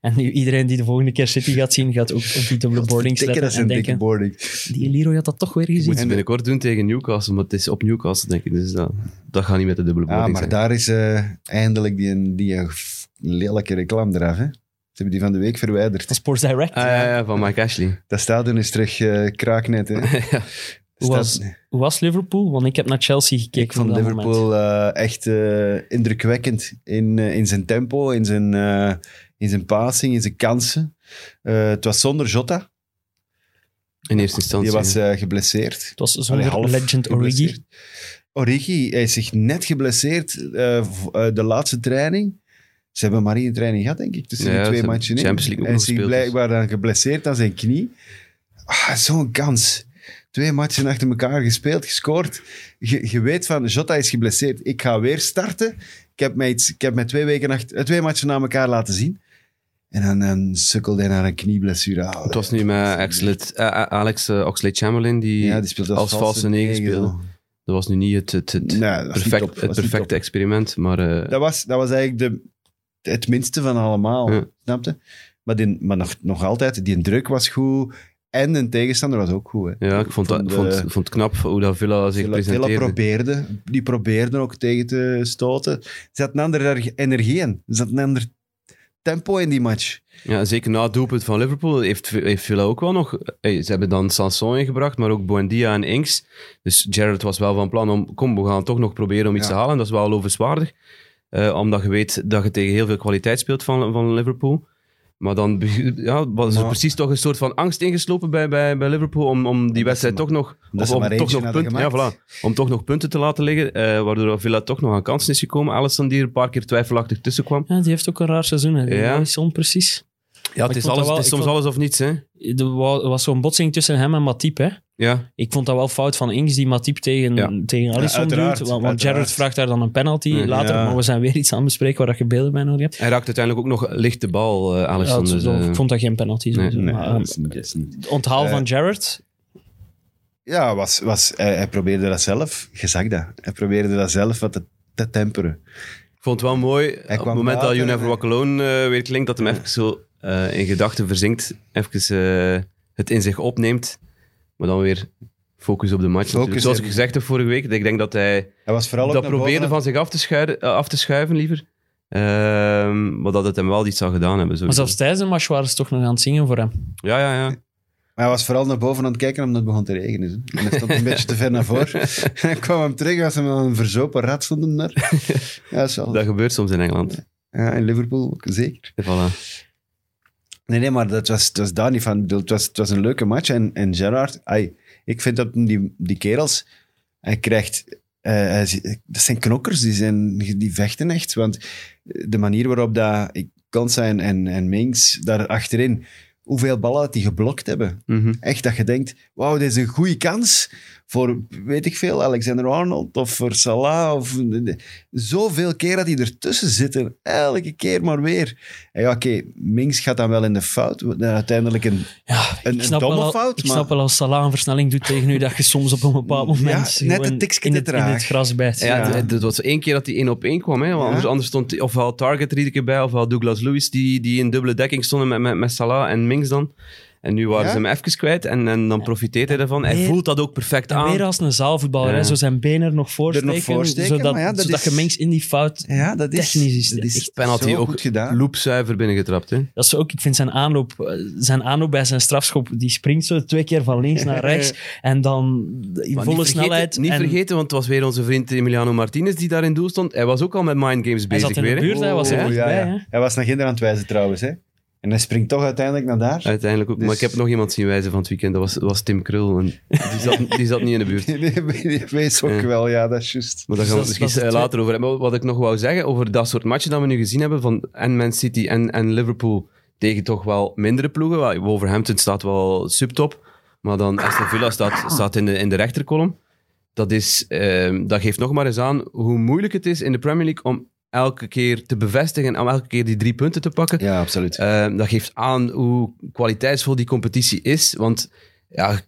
Speaker 4: En nu iedereen die de volgende keer City gaat zien, gaat ook op die dubbele boardings
Speaker 2: Tikken,
Speaker 4: letten
Speaker 2: dat is
Speaker 4: en
Speaker 2: een dikke
Speaker 4: denken,
Speaker 2: boarding.
Speaker 4: die Leroy had dat toch weer gezien.
Speaker 3: Moeten ze binnenkort doen tegen Newcastle, maar het is op Newcastle, denk ik. Dus dat, dat gaat niet met de dubbele
Speaker 2: Ah,
Speaker 3: boarding
Speaker 2: maar daar is eh, eindelijk die, die eh, f- lelijke reclame eraf. Hè? Ze hebben die van de week verwijderd.
Speaker 4: Van Sports Direct.
Speaker 3: zijn. Ah, ja, ja, van Mike Ashley.
Speaker 2: Dat stadion is terug eh, kraaknet. Hè?
Speaker 4: Hoe was,
Speaker 2: Staat-
Speaker 4: hoe was Liverpool? Want ik heb naar Chelsea gekeken
Speaker 2: Ik vond
Speaker 4: op dat moment.
Speaker 2: Liverpool eh, echt eh, indrukwekkend in, eh, in zijn tempo, in zijn, eh, in zijn passing, in zijn kansen. Eh, het was zonder Jota.
Speaker 3: in eerste instantie.
Speaker 2: Die was
Speaker 3: ja.
Speaker 2: eh, geblesseerd.
Speaker 4: Het was
Speaker 2: Allee,
Speaker 4: zonder
Speaker 2: half
Speaker 4: Legend Origi.
Speaker 2: geblesseerd. Origi, hij is zich net geblesseerd eh, v- eh, de laatste training. Ze hebben maar één training gehad, denk ik, tussen
Speaker 3: Ja,
Speaker 2: de
Speaker 3: ze
Speaker 2: twee
Speaker 3: hebben
Speaker 2: matchen in.
Speaker 3: Champions League ook
Speaker 2: hij is
Speaker 3: nog
Speaker 2: zich
Speaker 3: gespeeld, dus.
Speaker 2: blijkbaar dan geblesseerd aan zijn knie. Ah, Zo'n kans. Twee matchen achter elkaar gespeeld, gescoord. Je, je weet van, Jota is geblesseerd. Ik ga weer starten. Ik heb mij, iets, ik heb mij twee, weken achter, eh, twee matchen na elkaar laten zien. En dan ehm, sukkelde hij naar een knieblessure. Ah,
Speaker 3: Het was nu met Axlet- eh, eh, Alex Oxley Chamberlain, die,
Speaker 2: ja, die speelde
Speaker 3: als valse negen speelde. Dat was nu niet het, het, het
Speaker 2: Nee, dat was niet
Speaker 3: perfect,
Speaker 2: top. Dat was
Speaker 3: het
Speaker 2: niet
Speaker 3: perfecte
Speaker 2: top.
Speaker 3: experiment, maar eh,
Speaker 2: Dat was, dat was eigenlijk de, het minste van allemaal,
Speaker 3: Ja.
Speaker 2: snapte? Maar, die, maar nog, nog altijd, die druk was goed en de tegenstander was ook goed. Hè.
Speaker 3: ja, ik vond, dat,
Speaker 2: vond,
Speaker 3: vond,
Speaker 2: eh,
Speaker 3: vond het knap hoe dat Villa zich
Speaker 2: Villa, Villa
Speaker 3: presenteerde.
Speaker 2: probeerde, die probeerden ook tegen te stoten. Er zat een andere erg- energie in, er zat een ander tempo in die match.
Speaker 3: Ja, zeker na het doelpunt van Liverpool heeft, heeft Villa ook wel nog... eh, ze hebben dan Sanson ingebracht, maar ook Buendia en Inks. Dus Gerrard was wel van plan om... Kom, we gaan toch nog proberen om iets
Speaker 2: Ja.
Speaker 3: te halen. En dat is wel lovenswaardig. eh, omdat je weet dat je tegen heel veel kwaliteit speelt van, van Liverpool. Maar dan be- ja, was er
Speaker 2: Maar-
Speaker 3: precies toch een soort van angst ingeslopen bij, bij, bij Liverpool om, om die wedstrijd
Speaker 2: ze
Speaker 3: toch
Speaker 2: maar-
Speaker 3: nog...
Speaker 2: ze maar
Speaker 3: toch
Speaker 2: eentje
Speaker 3: nog
Speaker 2: hadden
Speaker 3: punten, ja,
Speaker 2: gemaakt.
Speaker 3: voilà, om toch nog punten te laten liggen, eh, waardoor Villa toch nog aan kansen is gekomen. Allison die er een paar keer twijfelachtig tussen kwam.
Speaker 4: Ja, die heeft ook een raar seizoen. Hè.
Speaker 3: Ja.
Speaker 4: Ja. precies.
Speaker 3: Ja,
Speaker 4: ik
Speaker 3: het is,
Speaker 4: vond dat
Speaker 3: alles,
Speaker 4: wel-
Speaker 3: het is
Speaker 4: ik
Speaker 3: soms
Speaker 4: vond-
Speaker 3: alles of niets, hè.
Speaker 4: Er wa- was zo'n botsing tussen hem en Matip, hè.
Speaker 3: Ja.
Speaker 4: Ik vond dat wel fout van Ings, die Matip tegen,
Speaker 3: Ja.
Speaker 4: tegen Alisson
Speaker 2: uiteraard,
Speaker 4: duwt. Want, want
Speaker 2: uiteraard.
Speaker 4: Gerrard vraagt daar dan een penalty
Speaker 3: Ja.
Speaker 4: later. Maar we zijn weer iets aan het bespreken waar dat je beelden bij nodig hebt.
Speaker 3: Hij raakt uiteindelijk ook nog licht de bal, eh
Speaker 4: Ja,
Speaker 3: Alisson.
Speaker 4: het-
Speaker 3: dus, eh,
Speaker 4: ik vond dat geen penalty. sowieso,
Speaker 2: Nee,
Speaker 4: maar,
Speaker 2: dat
Speaker 4: ehm,
Speaker 2: is niet- dat is niet.
Speaker 4: het onthaal
Speaker 2: Eh,
Speaker 4: van Gerrard.
Speaker 2: Ja, was, was, hij, hij probeerde dat zelf. Je zag dat. Hij probeerde dat zelf wat te, te temperen.
Speaker 3: ik vond het wel mooi,
Speaker 2: kwam
Speaker 3: op het moment dat
Speaker 2: later
Speaker 3: You
Speaker 2: en
Speaker 3: Never
Speaker 2: hij-
Speaker 3: Walk Alone eh, weer klinkt, dat hem even zo eh, in gedachten verzinkt, even eh, het in zich opneemt, maar dan weer focus op de match. natuurlijk.
Speaker 2: Focus
Speaker 3: Zoals ik
Speaker 2: in-
Speaker 3: gezegd heb vorige week, dat ik denk dat hij
Speaker 2: Hij was vooral ook
Speaker 3: dat
Speaker 2: naar boven
Speaker 3: probeerde
Speaker 2: aan-
Speaker 3: van zich af te, schuiven, eh, af te schuiven, liever. Ehm, maar dat het hem wel iets zou gedaan hebben.
Speaker 4: Maar
Speaker 3: sowieso.
Speaker 4: zelfs tijdens de match waren ze toch nog aan het zingen voor hem.
Speaker 3: Ja, ja, ja.
Speaker 2: Maar hij was vooral naar boven aan het kijken omdat het begon te regenen. hè. En hij stond een beetje te ver naar voren. Hij kwam hem terug, was hem dan een verzopen rat stond hem daar. Ja, dat is wel-
Speaker 3: Dat gebeurt soms in Engeland.
Speaker 2: ja, in Liverpool ook, zeker.
Speaker 3: Voilà.
Speaker 2: Nee, nee, maar dat was, het was daar niet van. Ik bedoel, Het was, het was een leuke match. En, en Gerard, ai, ik vind dat die, die kerels, hij krijgt... eh, hij is- dat zijn knokkers, die, zijn, die vechten echt. Want de manier waarop dat Kansa en, en, en Mings daar achterin, hoeveel ballen dat die geblokt hebben.
Speaker 3: Mhm.
Speaker 2: Echt dat je denkt, wauw, dit is een goede kans voor, weet ik veel, Alexander-Arnold of voor Salah. Of, zoveel keer dat die ertussen zitten. Elke keer maar weer. En ja, oké, Minks gaat dan wel in de fout. wat dan Uiteindelijk een...
Speaker 4: Ja,
Speaker 2: Een-
Speaker 4: ik
Speaker 2: een
Speaker 4: snap
Speaker 2: domme
Speaker 4: wel, al-
Speaker 2: fout,
Speaker 4: Ik
Speaker 2: maar-
Speaker 4: snap wel als Salah een versnelling doet tegen u, dat je soms op een bepaald moment
Speaker 2: Ja, net
Speaker 4: gewoon
Speaker 2: een tikje
Speaker 4: in,
Speaker 2: te
Speaker 4: het, in het
Speaker 2: traag.
Speaker 4: gras bijt.
Speaker 3: Ja,
Speaker 2: Ja.
Speaker 3: het- het was één keer dat hij één op één kwam. Hè? Want
Speaker 2: Ja.
Speaker 3: anders, anders stond hij- ofwel Target er iedere keer bij, ofwel Douglas Lewis, die, die in dubbele dekking stonden met, met, met Salah en Mings dan. En nu waren
Speaker 2: Ja.
Speaker 3: ze hem even kwijt en, en dan profiteert hij daarvan. Hij
Speaker 4: Weer-
Speaker 3: voelt dat ook perfect
Speaker 4: En
Speaker 3: aan.
Speaker 4: weer als een zaalvoetballer,
Speaker 3: Ja.
Speaker 4: hè, zo zijn benen er nog voor
Speaker 2: Er nog
Speaker 4: steken,
Speaker 2: voor steken,
Speaker 4: zodat,
Speaker 2: maar ja, dat
Speaker 4: zodat
Speaker 2: is-
Speaker 4: je mengs in die fout...
Speaker 2: Ja, dat is...
Speaker 4: Technisch is
Speaker 2: dat
Speaker 4: het
Speaker 2: is
Speaker 4: echt
Speaker 3: Penalty
Speaker 2: zo
Speaker 3: ook
Speaker 2: goed gedaan.
Speaker 3: loopzuiver binnengetrapt. Hè?
Speaker 4: Dat is ook, ik vind zijn aanloop, eh, zijn aanloop bij zijn strafschop, die springt zo twee keer van links naar rechts en dan in
Speaker 3: Maar
Speaker 4: volle
Speaker 3: niet vergeten-
Speaker 4: snelheid.
Speaker 3: Niet
Speaker 4: en
Speaker 3: vergeten, want het was weer onze vriend Emiliano Martinez die daar in doel stond. Hij was ook al met mind games
Speaker 4: Hij
Speaker 3: bezig
Speaker 4: zat in de
Speaker 3: weer. hè?
Speaker 4: buurt, hij was er
Speaker 2: Oh,
Speaker 4: dichtbij.
Speaker 2: ja, ja.
Speaker 4: hè.
Speaker 2: Hij was naar Ginder aan het wijzen trouwens. Hè? En hij springt toch uiteindelijk naar daar.
Speaker 3: Uiteindelijk ook. Maar
Speaker 2: Dus-
Speaker 3: ik heb nog iemand zien wijzen van het weekend. Dat was, dat was Tim Krul. En die, zat, die zat niet in de buurt.
Speaker 2: Die weet ook
Speaker 3: Ja.
Speaker 2: wel, ja, dat is juist.
Speaker 3: Maar daar gaan we
Speaker 4: Dus
Speaker 3: het misschien
Speaker 4: dat- dat is het
Speaker 3: later over hebben. Maar Wat ik nog wou zeggen over dat soort matchen dat we nu gezien hebben van en Man City en, en Liverpool tegen toch wel mindere ploegen. Wel, Wolverhampton staat wel subtop, maar dan Aston Villa staat, staat in, de, in de rechterkolom. Dat, is, ehm, dat geeft nog maar eens aan hoe moeilijk het is in de Premier League om elke keer te bevestigen en om elke keer die drie punten te pakken.
Speaker 2: Ja, absoluut.
Speaker 3: Ehm, dat geeft aan hoe kwaliteitsvol die competitie is. Want ja,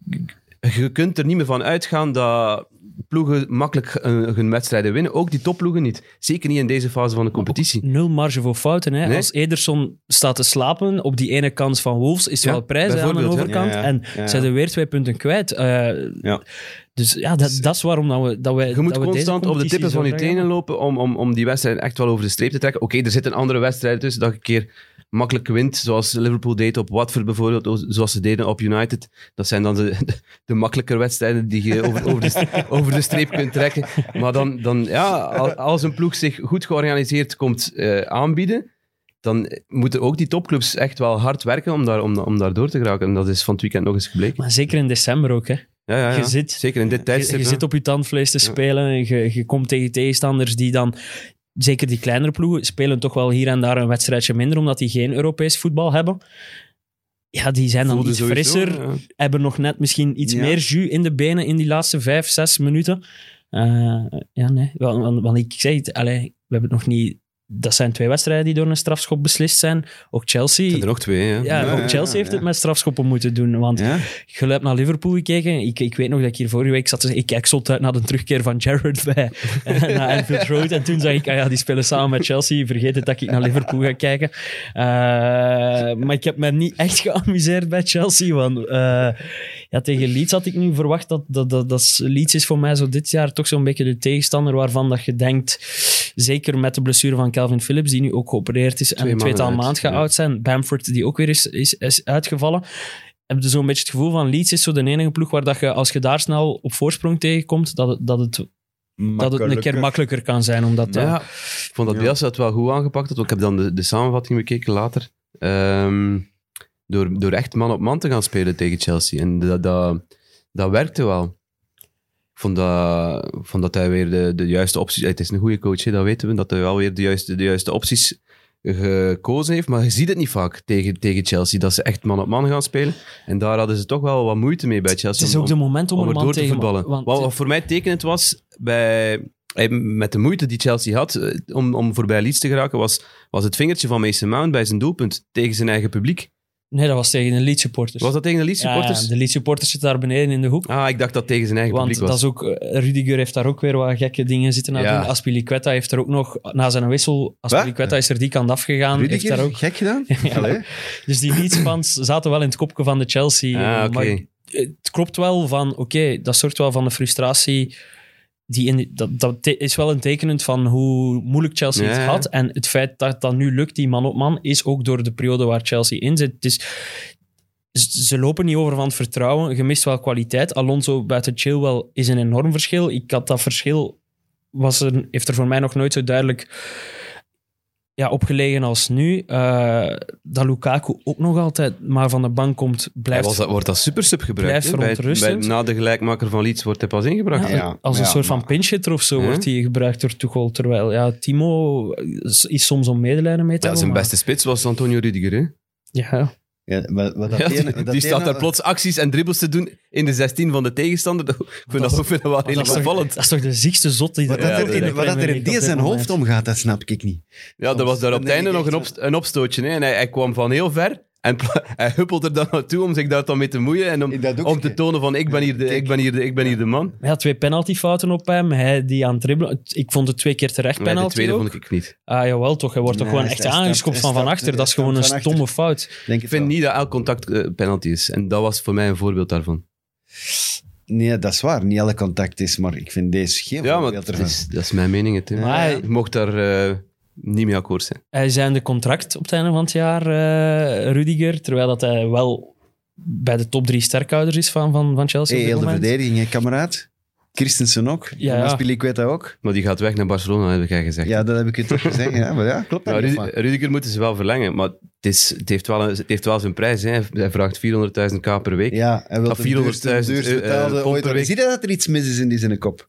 Speaker 3: je kunt er niet meer van uitgaan dat ploegen makkelijk eh, hun wedstrijden winnen. Ook die topploegen niet. Zeker niet in deze fase van de competitie.
Speaker 4: Nul marge voor fouten. Hè.
Speaker 3: Nee.
Speaker 4: Als Ederson staat te slapen op die ene kant van Wolves, is het
Speaker 3: Ja,
Speaker 4: wel prijs hè, aan de
Speaker 3: bijvoorbeeld, hè.
Speaker 4: overkant.
Speaker 2: Ja, ja.
Speaker 4: En
Speaker 2: Ja.
Speaker 4: zijn er weer twee punten kwijt. Eh,
Speaker 2: Ja.
Speaker 4: Dus ja, dat, dat is waarom dat we, dat wij.
Speaker 3: Je moet
Speaker 4: dat we deze
Speaker 3: constant op de
Speaker 4: competitie
Speaker 3: tippen
Speaker 4: zo
Speaker 3: van je
Speaker 4: graag
Speaker 3: tenen
Speaker 4: hebben.
Speaker 3: lopen om, om, om die wedstrijd echt wel over de streep te trekken. Oké, er zitten andere wedstrijden tussen dat je een keer makkelijk wint, zoals Liverpool deed op Watford bijvoorbeeld, o- zoals ze deden op United. Dat zijn dan de, de, makkelijker wedstrijden die je over, over, de, st- over de streep kunt trekken. Maar dan, dan ja, al- als een ploeg zich goed georganiseerd komt eh, aanbieden, dan moeten ook die topclubs echt wel hard werken om daar, om, om daar door te geraken. En dat is van het weekend nog eens gebleken.
Speaker 4: Maar zeker in december ook, hè.
Speaker 3: Ja, ja, ja.
Speaker 4: Je zit-
Speaker 3: Zeker in dit
Speaker 4: Je,
Speaker 3: tijdstip.
Speaker 4: je
Speaker 3: hè.
Speaker 4: zit op je tandvlees te spelen en je, je komt tegen tegenstanders die dan... Zeker die kleinere ploegen spelen toch wel hier en daar een wedstrijdje minder, omdat die geen Europees voetbal hebben. Ja, die zijn dan
Speaker 3: Voelde
Speaker 4: iets
Speaker 3: sowieso,
Speaker 4: frisser,
Speaker 3: ja.
Speaker 4: hebben nog net misschien iets
Speaker 2: Ja.
Speaker 4: meer jus in de benen in die laatste vijf, zes minuten. Eh, ja, nee. Want, want- want ik zei het, allee, we hebben het nog niet... Dat zijn twee wedstrijden die door een strafschop beslist zijn. Ook Chelsea...
Speaker 3: Er zijn er nog twee, hè.
Speaker 4: Ja,
Speaker 2: Ja,
Speaker 4: ook
Speaker 2: ja,
Speaker 4: Chelsea
Speaker 2: ja,
Speaker 4: heeft het
Speaker 2: ja.
Speaker 4: met strafschoppen moeten doen. Want
Speaker 2: Ja?
Speaker 4: geluid naar Liverpool gekeken. Ik, ik weet nog dat ik hier vorige week zat. te zeggen, ik kijk zot uit naar de terugkeer van Jared bij eh, naar Anfield Road. En toen zag ik, ah ja, die spelen samen met Chelsea. Vergeet het dat ik naar Liverpool ga kijken. Eh, maar ik heb me niet echt geamuseerd bij Chelsea. Want eh, ja, tegen Leeds had ik nu verwacht dat, dat, dat, dat is- Leeds is voor mij zo dit jaar toch zo'n beetje de tegenstander waarvan dat je denkt, zeker met de blessure van Calvin Phillips, die nu ook geopereerd is en
Speaker 3: Twee
Speaker 4: een
Speaker 3: maanden
Speaker 4: tweetal
Speaker 3: uit,
Speaker 4: maand gaat
Speaker 3: ja.
Speaker 4: oud zijn. Bamford, die ook weer is, is, is uitgevallen heb je zo'n beetje het gevoel van Leeds is zo de enige ploeg waar dat je, als je daar snel op voorsprong tegenkomt, dat het, dat het, dat het een keer makkelijker kan zijn. Omdat,
Speaker 3: Ja,
Speaker 4: eh,
Speaker 3: ik vond dat
Speaker 2: Ja.
Speaker 3: Bielsa het wel goed aangepakt had. want Ik heb dan de, de samenvatting bekeken later. Ehm, door, door echt man op man te gaan spelen tegen Chelsea. En dat, dat, dat werkte wel. Ik vond dat, ik vond dat hij weer de, de juiste opties... Het is een goede coach, hè, dat weten we. Dat hij wel weer de juiste, de juiste opties gekozen heeft. Maar je ziet het niet vaak tegen, tegen Chelsea, dat ze echt man op man gaan spelen. En daar hadden ze toch wel wat moeite mee bij Chelsea.
Speaker 4: het is
Speaker 3: om-
Speaker 4: ook de moment om,
Speaker 3: om
Speaker 4: een
Speaker 3: er
Speaker 4: man
Speaker 3: door te
Speaker 4: tegen
Speaker 3: voetballen.
Speaker 4: Want,
Speaker 3: wat, wat voor mij tekenend was, bij, eh, met de moeite die Chelsea had eh, om, om voorbij Leeds te geraken, was, was het vingertje van Mason Mount bij zijn doelpunt tegen zijn eigen publiek.
Speaker 4: Nee, dat was tegen de Leeds supporters.
Speaker 3: Was dat tegen de Leeds
Speaker 4: Ja,
Speaker 3: supporters?
Speaker 4: de Leeds supporters zitten daar beneden in de hoek.
Speaker 3: Ah, ik dacht dat tegen zijn eigen
Speaker 4: Want
Speaker 3: publiek
Speaker 4: dat
Speaker 3: was.
Speaker 4: is ook, eh, Rudiger heeft daar ook weer wat gekke dingen zitten aan
Speaker 3: Ja.
Speaker 4: doen. Aspilicueta heeft er ook nog, na zijn wissel, Aspilicueta is er die kant afgegaan. Heeft daar ook,
Speaker 2: gek gedaan? Allee.
Speaker 4: dus die Leeds-fans zaten wel in het kopje van de Chelsea.
Speaker 3: Ah,
Speaker 4: eh,
Speaker 3: oké.
Speaker 4: maar het klopt wel van, oké, dat zorgt wel van de frustratie. Die in, dat, dat te- is wel een tekenend van hoe moeilijk Chelsea
Speaker 3: Ja,
Speaker 4: het
Speaker 3: ja.
Speaker 4: had. En het feit dat dat nu lukt, die man op man, is ook door de periode waar Chelsea in zit. Het is, ze ze lopen niet over van het vertrouwen. Je mist wel kwaliteit. Alonso buiten Chilwell is een enorm verschil. Ik had dat verschil, was er, heeft er voor mij nog nooit zo duidelijk ja, opgelegen als nu. Eh, dat Lukaku ook nog altijd maar van de bank komt,
Speaker 3: Hij
Speaker 4: blijft
Speaker 3: was, dat- wordt dat supersub gebruikt?
Speaker 4: blijft
Speaker 3: hè? Bij-
Speaker 4: verontrustend.
Speaker 3: bij- na de gelijkmaker van Leeds wordt hij pas ingebracht.
Speaker 4: Ja,
Speaker 2: Ja,
Speaker 4: als een
Speaker 2: ja,
Speaker 4: soort van
Speaker 2: maar-
Speaker 4: pinchitter of zo
Speaker 3: Ja.
Speaker 4: wordt hij gebruikt door Tuchel. Terwijl ja, Timo is is soms om medelijden mee te
Speaker 3: Ja,
Speaker 4: hebben.
Speaker 3: zijn
Speaker 4: maar-
Speaker 3: beste spits was Antonio Rudiger. Hè?
Speaker 4: Ja.
Speaker 2: Ja, maar, maar dat
Speaker 3: Ja,
Speaker 2: ene-
Speaker 3: die
Speaker 2: dat
Speaker 3: die staat
Speaker 2: ene-
Speaker 3: daar plots acties en dribbles te doen in de 16 van de tegenstander. Ik vind dat,
Speaker 4: is-
Speaker 3: ik vind dat wel
Speaker 4: Dat,
Speaker 3: redelijk
Speaker 4: is toch,
Speaker 3: opvallend.
Speaker 4: dat is toch de ziekste zot die
Speaker 2: Wat,
Speaker 4: er-
Speaker 2: dat
Speaker 3: Ja,
Speaker 2: er in, wat dat er in die zijn hoofd omgaat, dat snap ik niet.
Speaker 3: Ja, er
Speaker 2: Soms.
Speaker 3: was
Speaker 2: Dan
Speaker 3: daar op het
Speaker 2: denk
Speaker 3: einde
Speaker 2: ik
Speaker 3: nog een,
Speaker 2: echt,
Speaker 3: op, een opstootje. Hè? En hij, hij kwam van heel ver en pla- hij huppelt er dan naartoe om zich daar dan mee te moeien. En
Speaker 2: In
Speaker 3: om,
Speaker 2: dat doekje.
Speaker 3: om te tonen van ik ben hier de, ik ben hier de, ik ben hier de man.
Speaker 4: Hij had twee penaltyfouten op hem. Hij die aan het dribbelen. Ik vond het twee keer terecht
Speaker 3: Maar
Speaker 4: penalty.
Speaker 3: de tweede
Speaker 4: ook.
Speaker 3: vond ik niet.
Speaker 4: Ah jawel toch. Hij wordt toch
Speaker 2: Nee,
Speaker 4: gewoon
Speaker 2: hij
Speaker 4: echt
Speaker 2: stapt-
Speaker 4: aangeschopt
Speaker 2: hij
Speaker 4: van van
Speaker 2: stapt-
Speaker 4: achter.
Speaker 2: hij
Speaker 4: Dat is gewoon een
Speaker 2: stapt van achter.
Speaker 4: stomme fout.
Speaker 2: Denk
Speaker 3: Ik vind niet dat elk contact eh, penalty is. En dat was voor mij een voorbeeld daarvan.
Speaker 2: Nee, dat is waar. Niet alle contact is, maar ik vind deze geen
Speaker 3: Ja, maar
Speaker 2: voorbeeld
Speaker 3: dat
Speaker 2: ervan.
Speaker 3: is, dat is mijn mening. Tim.
Speaker 4: Maar-
Speaker 3: Je mocht daar eh, niet mee akkoord zijn.
Speaker 4: Hij zijn de contract op het einde van het jaar, eh, Rudiger. Terwijl dat hij wel bij de top drie sterkhouders is van, van, van Chelsea.
Speaker 2: Hey,
Speaker 4: op dit
Speaker 2: heel de
Speaker 4: moment.
Speaker 2: verdediging, hè, kameraad. Christensen ook.
Speaker 4: Ja, ja.
Speaker 2: Ja. Aspilicueta ook.
Speaker 3: Maar die gaat weg naar Barcelona, heb jij gezegd.
Speaker 2: Ja, dat heb ik je toch gezegd. Ja, maar ja, klopt.
Speaker 3: Ja,
Speaker 2: dat niet,
Speaker 3: Rudi-
Speaker 2: maar-
Speaker 3: Rudiger moeten ze wel verlengen, maar het, is, het, heeft, wel een- het heeft wel zijn prijs. Hè. Hij vraagt 400.000 k per week.
Speaker 2: Ja, hij wil
Speaker 3: Dat
Speaker 2: de duurste,
Speaker 3: 400.000
Speaker 2: duurste betaalde
Speaker 3: eh, eh,
Speaker 2: ooit.
Speaker 3: per week.
Speaker 2: Zie je dat er iets mis is in die zijn kop?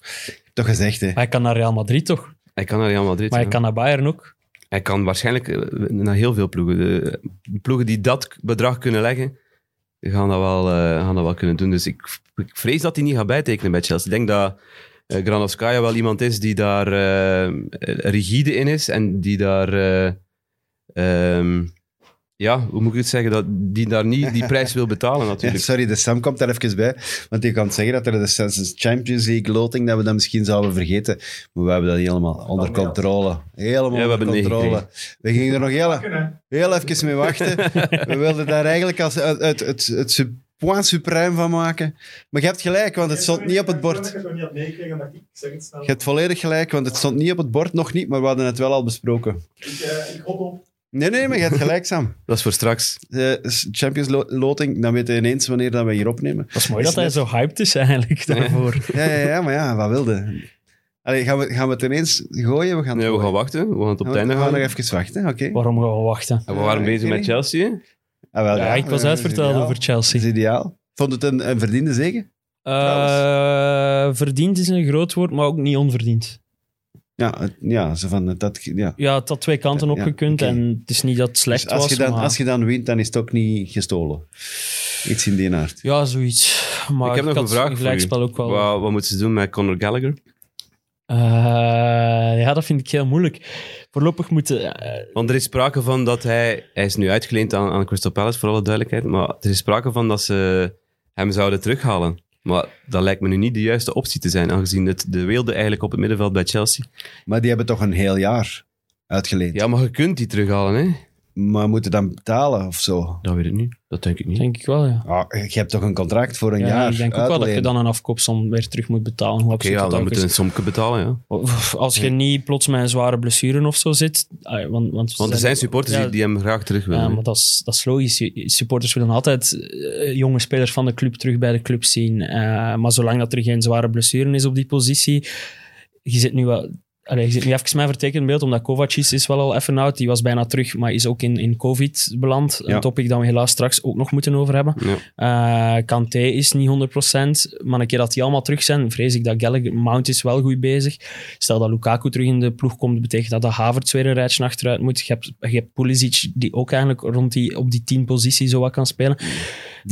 Speaker 2: Toch gezegd, hè?
Speaker 4: Maar hij kan naar Real Madrid toch?
Speaker 3: Hij kan naar Real Madrid.
Speaker 4: Maar
Speaker 3: ja.
Speaker 4: hij kan naar Bayern ook.
Speaker 3: Hij kan waarschijnlijk eh, naar heel veel ploegen. De, de ploegen die dat k- bedrag kunnen leggen, gaan dat wel, eh, gaan dat wel kunnen doen. Dus ik, ik vrees dat hij niet gaat bijtekenen bij Chelsea. Ik denk dat eh, Granovskaya wel iemand is die daar eh, rigide in is en die daar... eh, ehm, ja, hoe moet ik het zeggen? Dat, die daar niet die prijs wil betalen
Speaker 2: Ja,
Speaker 3: natuurlijk.
Speaker 2: sorry, de Sam komt daar even bij. Want je kan zeggen dat er de Senses Champions League loting, dat we dat misschien zouden vergeten. Maar we hebben dat helemaal onder controle. Helemaal
Speaker 3: Ja, we
Speaker 2: onder
Speaker 3: hebben het
Speaker 2: controle. We gingen er nog heel, heel even mee wachten. We wilden daar eigenlijk als, het, het, het, het sub- point supreme van maken. Maar je hebt gelijk, want het stond niet op het bord.
Speaker 5: Ik heb het niet had meegekregen, dacht ik, ik zeg het snel.
Speaker 2: Je hebt volledig gelijk, want het stond niet op het bord, nog niet, maar we hadden het wel al besproken.
Speaker 5: Ik, eh, ik hoop op.
Speaker 2: Nee, nee, maar je hebt gelijk, Sam.
Speaker 3: Dat is voor straks.
Speaker 2: De Champions lo- loting, dan weten we ineens wanneer dat we hier opnemen.
Speaker 4: Dat is mooi dat hij zo hyped is eigenlijk daarvoor.
Speaker 2: Ja, ja, ja, maar ja, wat wilde. Allee, gaan, we, gaan we het ineens gooien? We gaan, het
Speaker 3: Nee, we
Speaker 2: gooien.
Speaker 3: gaan wachten. We gaan het op het
Speaker 2: Gaan we-
Speaker 3: einde
Speaker 2: gaan we
Speaker 3: houden.
Speaker 2: nog even eh, wachten, oké.
Speaker 4: Waarom gaan we wachten?
Speaker 3: En we waren
Speaker 2: Ja, ik
Speaker 3: bezig
Speaker 2: weet
Speaker 3: met
Speaker 2: niet.
Speaker 3: Chelsea. hè?
Speaker 2: Ah, wel,
Speaker 4: Ja, ik was
Speaker 2: eh,
Speaker 4: uitverteld
Speaker 2: ideaal.
Speaker 4: over
Speaker 2: Dat
Speaker 4: Chelsea.
Speaker 2: is ideaal. Vond het een, een verdiende zege?
Speaker 4: Eh, verdiend is een groot woord, maar ook niet onverdiend.
Speaker 2: Ja, het- ja, zo van, eh, dat, ja.
Speaker 4: Ja, het had twee kanten
Speaker 2: Ja,
Speaker 4: opgekund
Speaker 2: oké.
Speaker 4: en het is niet dat het slecht
Speaker 2: Dus als,
Speaker 4: was,
Speaker 2: je dan,
Speaker 4: maar...
Speaker 2: als je dan wint, dan is het ook niet gestolen. Iets in die aard.
Speaker 4: Ja, zoiets. Maar
Speaker 3: Ik
Speaker 4: ik
Speaker 3: heb nog
Speaker 4: had
Speaker 3: een vraag
Speaker 4: een
Speaker 3: voor
Speaker 4: gelijkspel ook wel.
Speaker 3: Wat, wat moeten ze doen met Conor Gallagher?
Speaker 4: Eh, ja, dat vind ik heel moeilijk. Voorlopig moeten... eh,
Speaker 3: Want er is sprake van dat hij... Hij is nu uitgeleend aan, aan Crystal Palace, voor alle duidelijkheid. Maar er is sprake van dat ze hem zouden terughalen. Maar dat lijkt me nu niet de juiste optie te zijn, aangezien het de weelde eigenlijk op het middenveld bij Chelsea.
Speaker 2: Maar die hebben toch een heel jaar uitgeleend.
Speaker 3: Ja, maar je kunt die terughalen, hè?
Speaker 2: Maar moeten dan betalen of zo?
Speaker 3: Dat weet ik niet. Dat denk ik niet.
Speaker 4: denk ik wel, ja.
Speaker 2: Ah, je hebt toch een contract voor een
Speaker 4: Ja,
Speaker 2: jaar
Speaker 4: ik denk ook wel dat je dan een afkoopsom weer terug moet betalen.
Speaker 3: Oké,
Speaker 4: Hoe absurd
Speaker 3: ja,
Speaker 4: dat
Speaker 3: dan
Speaker 4: ook
Speaker 3: moeten
Speaker 4: is.
Speaker 3: we een somke betalen, ja.
Speaker 4: Of Als je niet plots met een zware blessure of zo zit. ah, Want, want,
Speaker 3: Want er zijn supporters
Speaker 4: ja,
Speaker 3: die, die hem graag terug willen.
Speaker 4: Ja,
Speaker 3: hè.
Speaker 4: maar dat is, dat is logisch. Je- Supporters willen altijd eh, jonge spelers van de club terug bij de club zien. Eh, maar zolang dat er geen zware blessure is op die positie. Je zit nu wel. Allee, je zit nu even mijn vertekend beeld, omdat Kovacic is wel al even oud. Die was bijna terug, maar is ook in, in COVID beland.
Speaker 2: Ja.
Speaker 4: Een topic dat we helaas straks ook nog moeten over hebben.
Speaker 3: Ja.
Speaker 4: Eh, Kanté is niet 100%, maar een keer dat die allemaal terug zijn, vrees ik dat Gallagher... Mount is wel goed bezig. Stel dat Lukaku terug in de ploeg komt, betekent dat dat Havertz weer een rijtje achteruit moet. Je hebt, je hebt Pulisic, die ook eigenlijk rond die, op die tien positie zo wat kan spelen.
Speaker 2: Die,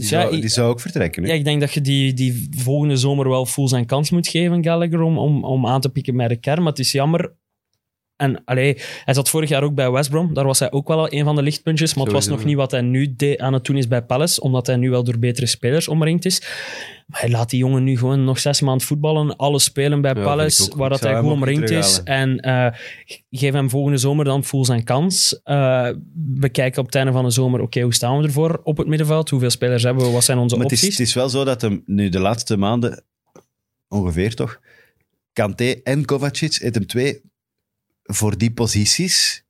Speaker 4: Dus
Speaker 2: zou,
Speaker 4: ja,
Speaker 2: die zou ook vertrekken. hè?
Speaker 4: Ja, ik denk dat je die, die volgende zomer wel full zijn kans moet geven, Gallagher, om, om, om aan te pikken met de kern. Maar het is jammer. En allee, hij zat vorig jaar ook bij West Brom. Daar was hij ook wel al een van de lichtpuntjes. Maar het was
Speaker 3: Sowieso,
Speaker 4: nog
Speaker 3: ja.
Speaker 4: niet wat hij nu deed, aan het doen is bij Palace. Omdat hij nu wel door betere spelers omringd is. Maar hij laat die jongen nu gewoon nog zes maanden voetballen. Alles spelen bij
Speaker 3: Ja, vind
Speaker 4: Palace,
Speaker 3: ik ook.
Speaker 4: waar dat
Speaker 2: zou
Speaker 4: hij
Speaker 2: hem
Speaker 4: goed
Speaker 2: ook niet
Speaker 4: omringd is. En eh, geef hem volgende zomer dan full zijn kans. Eh, we kijken op het einde van de zomer, oké, hoe staan we ervoor op het middenveld? Hoeveel spelers hebben we? Wat zijn onze
Speaker 2: maar het
Speaker 4: opties?
Speaker 2: is, het is wel zo dat hem nu de laatste maanden, ongeveer toch, Kanté en Kovacic, het hem twee voor die posities.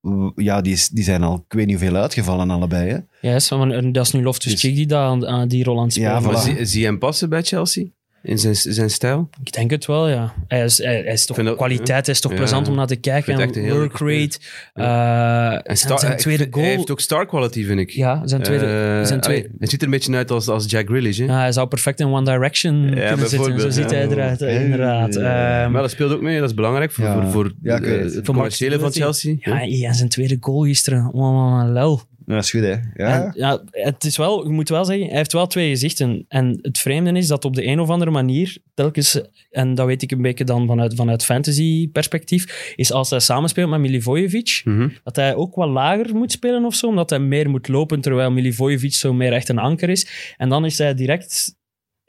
Speaker 2: w- Ja, die, is- die zijn al, ik weet niet hoeveel uitgevallen allebei. Hè?
Speaker 4: Ja, yes, maar en dat is nu Loftus
Speaker 2: Dus-
Speaker 4: Cheek die, dat aan, aan die rol aan het spelen
Speaker 2: Ja,
Speaker 4: is.
Speaker 3: Maar
Speaker 2: voilà.
Speaker 3: zie, zie je hem passen bij Chelsea? In zijn, zijn stijl?
Speaker 4: Ik denk het wel, ja. Hij is, hij, hij is toch
Speaker 3: Ik vind dat-
Speaker 4: kwaliteit, hij is toch
Speaker 3: Ja.
Speaker 4: plezant om naar te kijken.
Speaker 3: Ik vind het
Speaker 4: En
Speaker 3: echt een heel
Speaker 4: work
Speaker 3: leuke
Speaker 4: rate. eh, en
Speaker 3: star-
Speaker 4: zijn
Speaker 3: hij-
Speaker 4: tweede goal.
Speaker 3: Hij heeft ook star quality, vind ik.
Speaker 4: Ja, zijn tweede.
Speaker 3: Eh,
Speaker 4: zijn tweede-
Speaker 3: allee, het ziet er een beetje uit als, als Jack Grealish. Hè?
Speaker 4: Ja, hij zou perfect in One Direction kunnen zitten. Zo
Speaker 3: bijvoorbeeld,
Speaker 4: ziet
Speaker 3: ja.
Speaker 4: hij eruit, eh, inderdaad. Ehm,
Speaker 3: maar dat speelt ook mee, dat is belangrijk voor,
Speaker 2: Ja.
Speaker 3: voor, voor
Speaker 2: Ja, ik
Speaker 3: de-
Speaker 2: weet het.
Speaker 3: het
Speaker 4: Voor
Speaker 3: commerciële van Chelsea.
Speaker 4: marketability. ja, en zijn tweede goal gisteren. Oh, lel.
Speaker 2: Dat is goed, hè? Ja.
Speaker 4: En, ja, het is wel, ik moet wel zeggen, hij heeft wel twee gezichten. En het vreemde is dat op de een of andere manier, telkens, en dat weet ik een beetje dan vanuit, vanuit fantasy-perspectief, is als hij samenspeelt met Milivojevic,
Speaker 3: Mhm.
Speaker 4: dat hij ook wat lager moet spelen of zo, omdat hij meer moet lopen, terwijl Milivojevic zo meer echt een anker is. En dan is hij direct...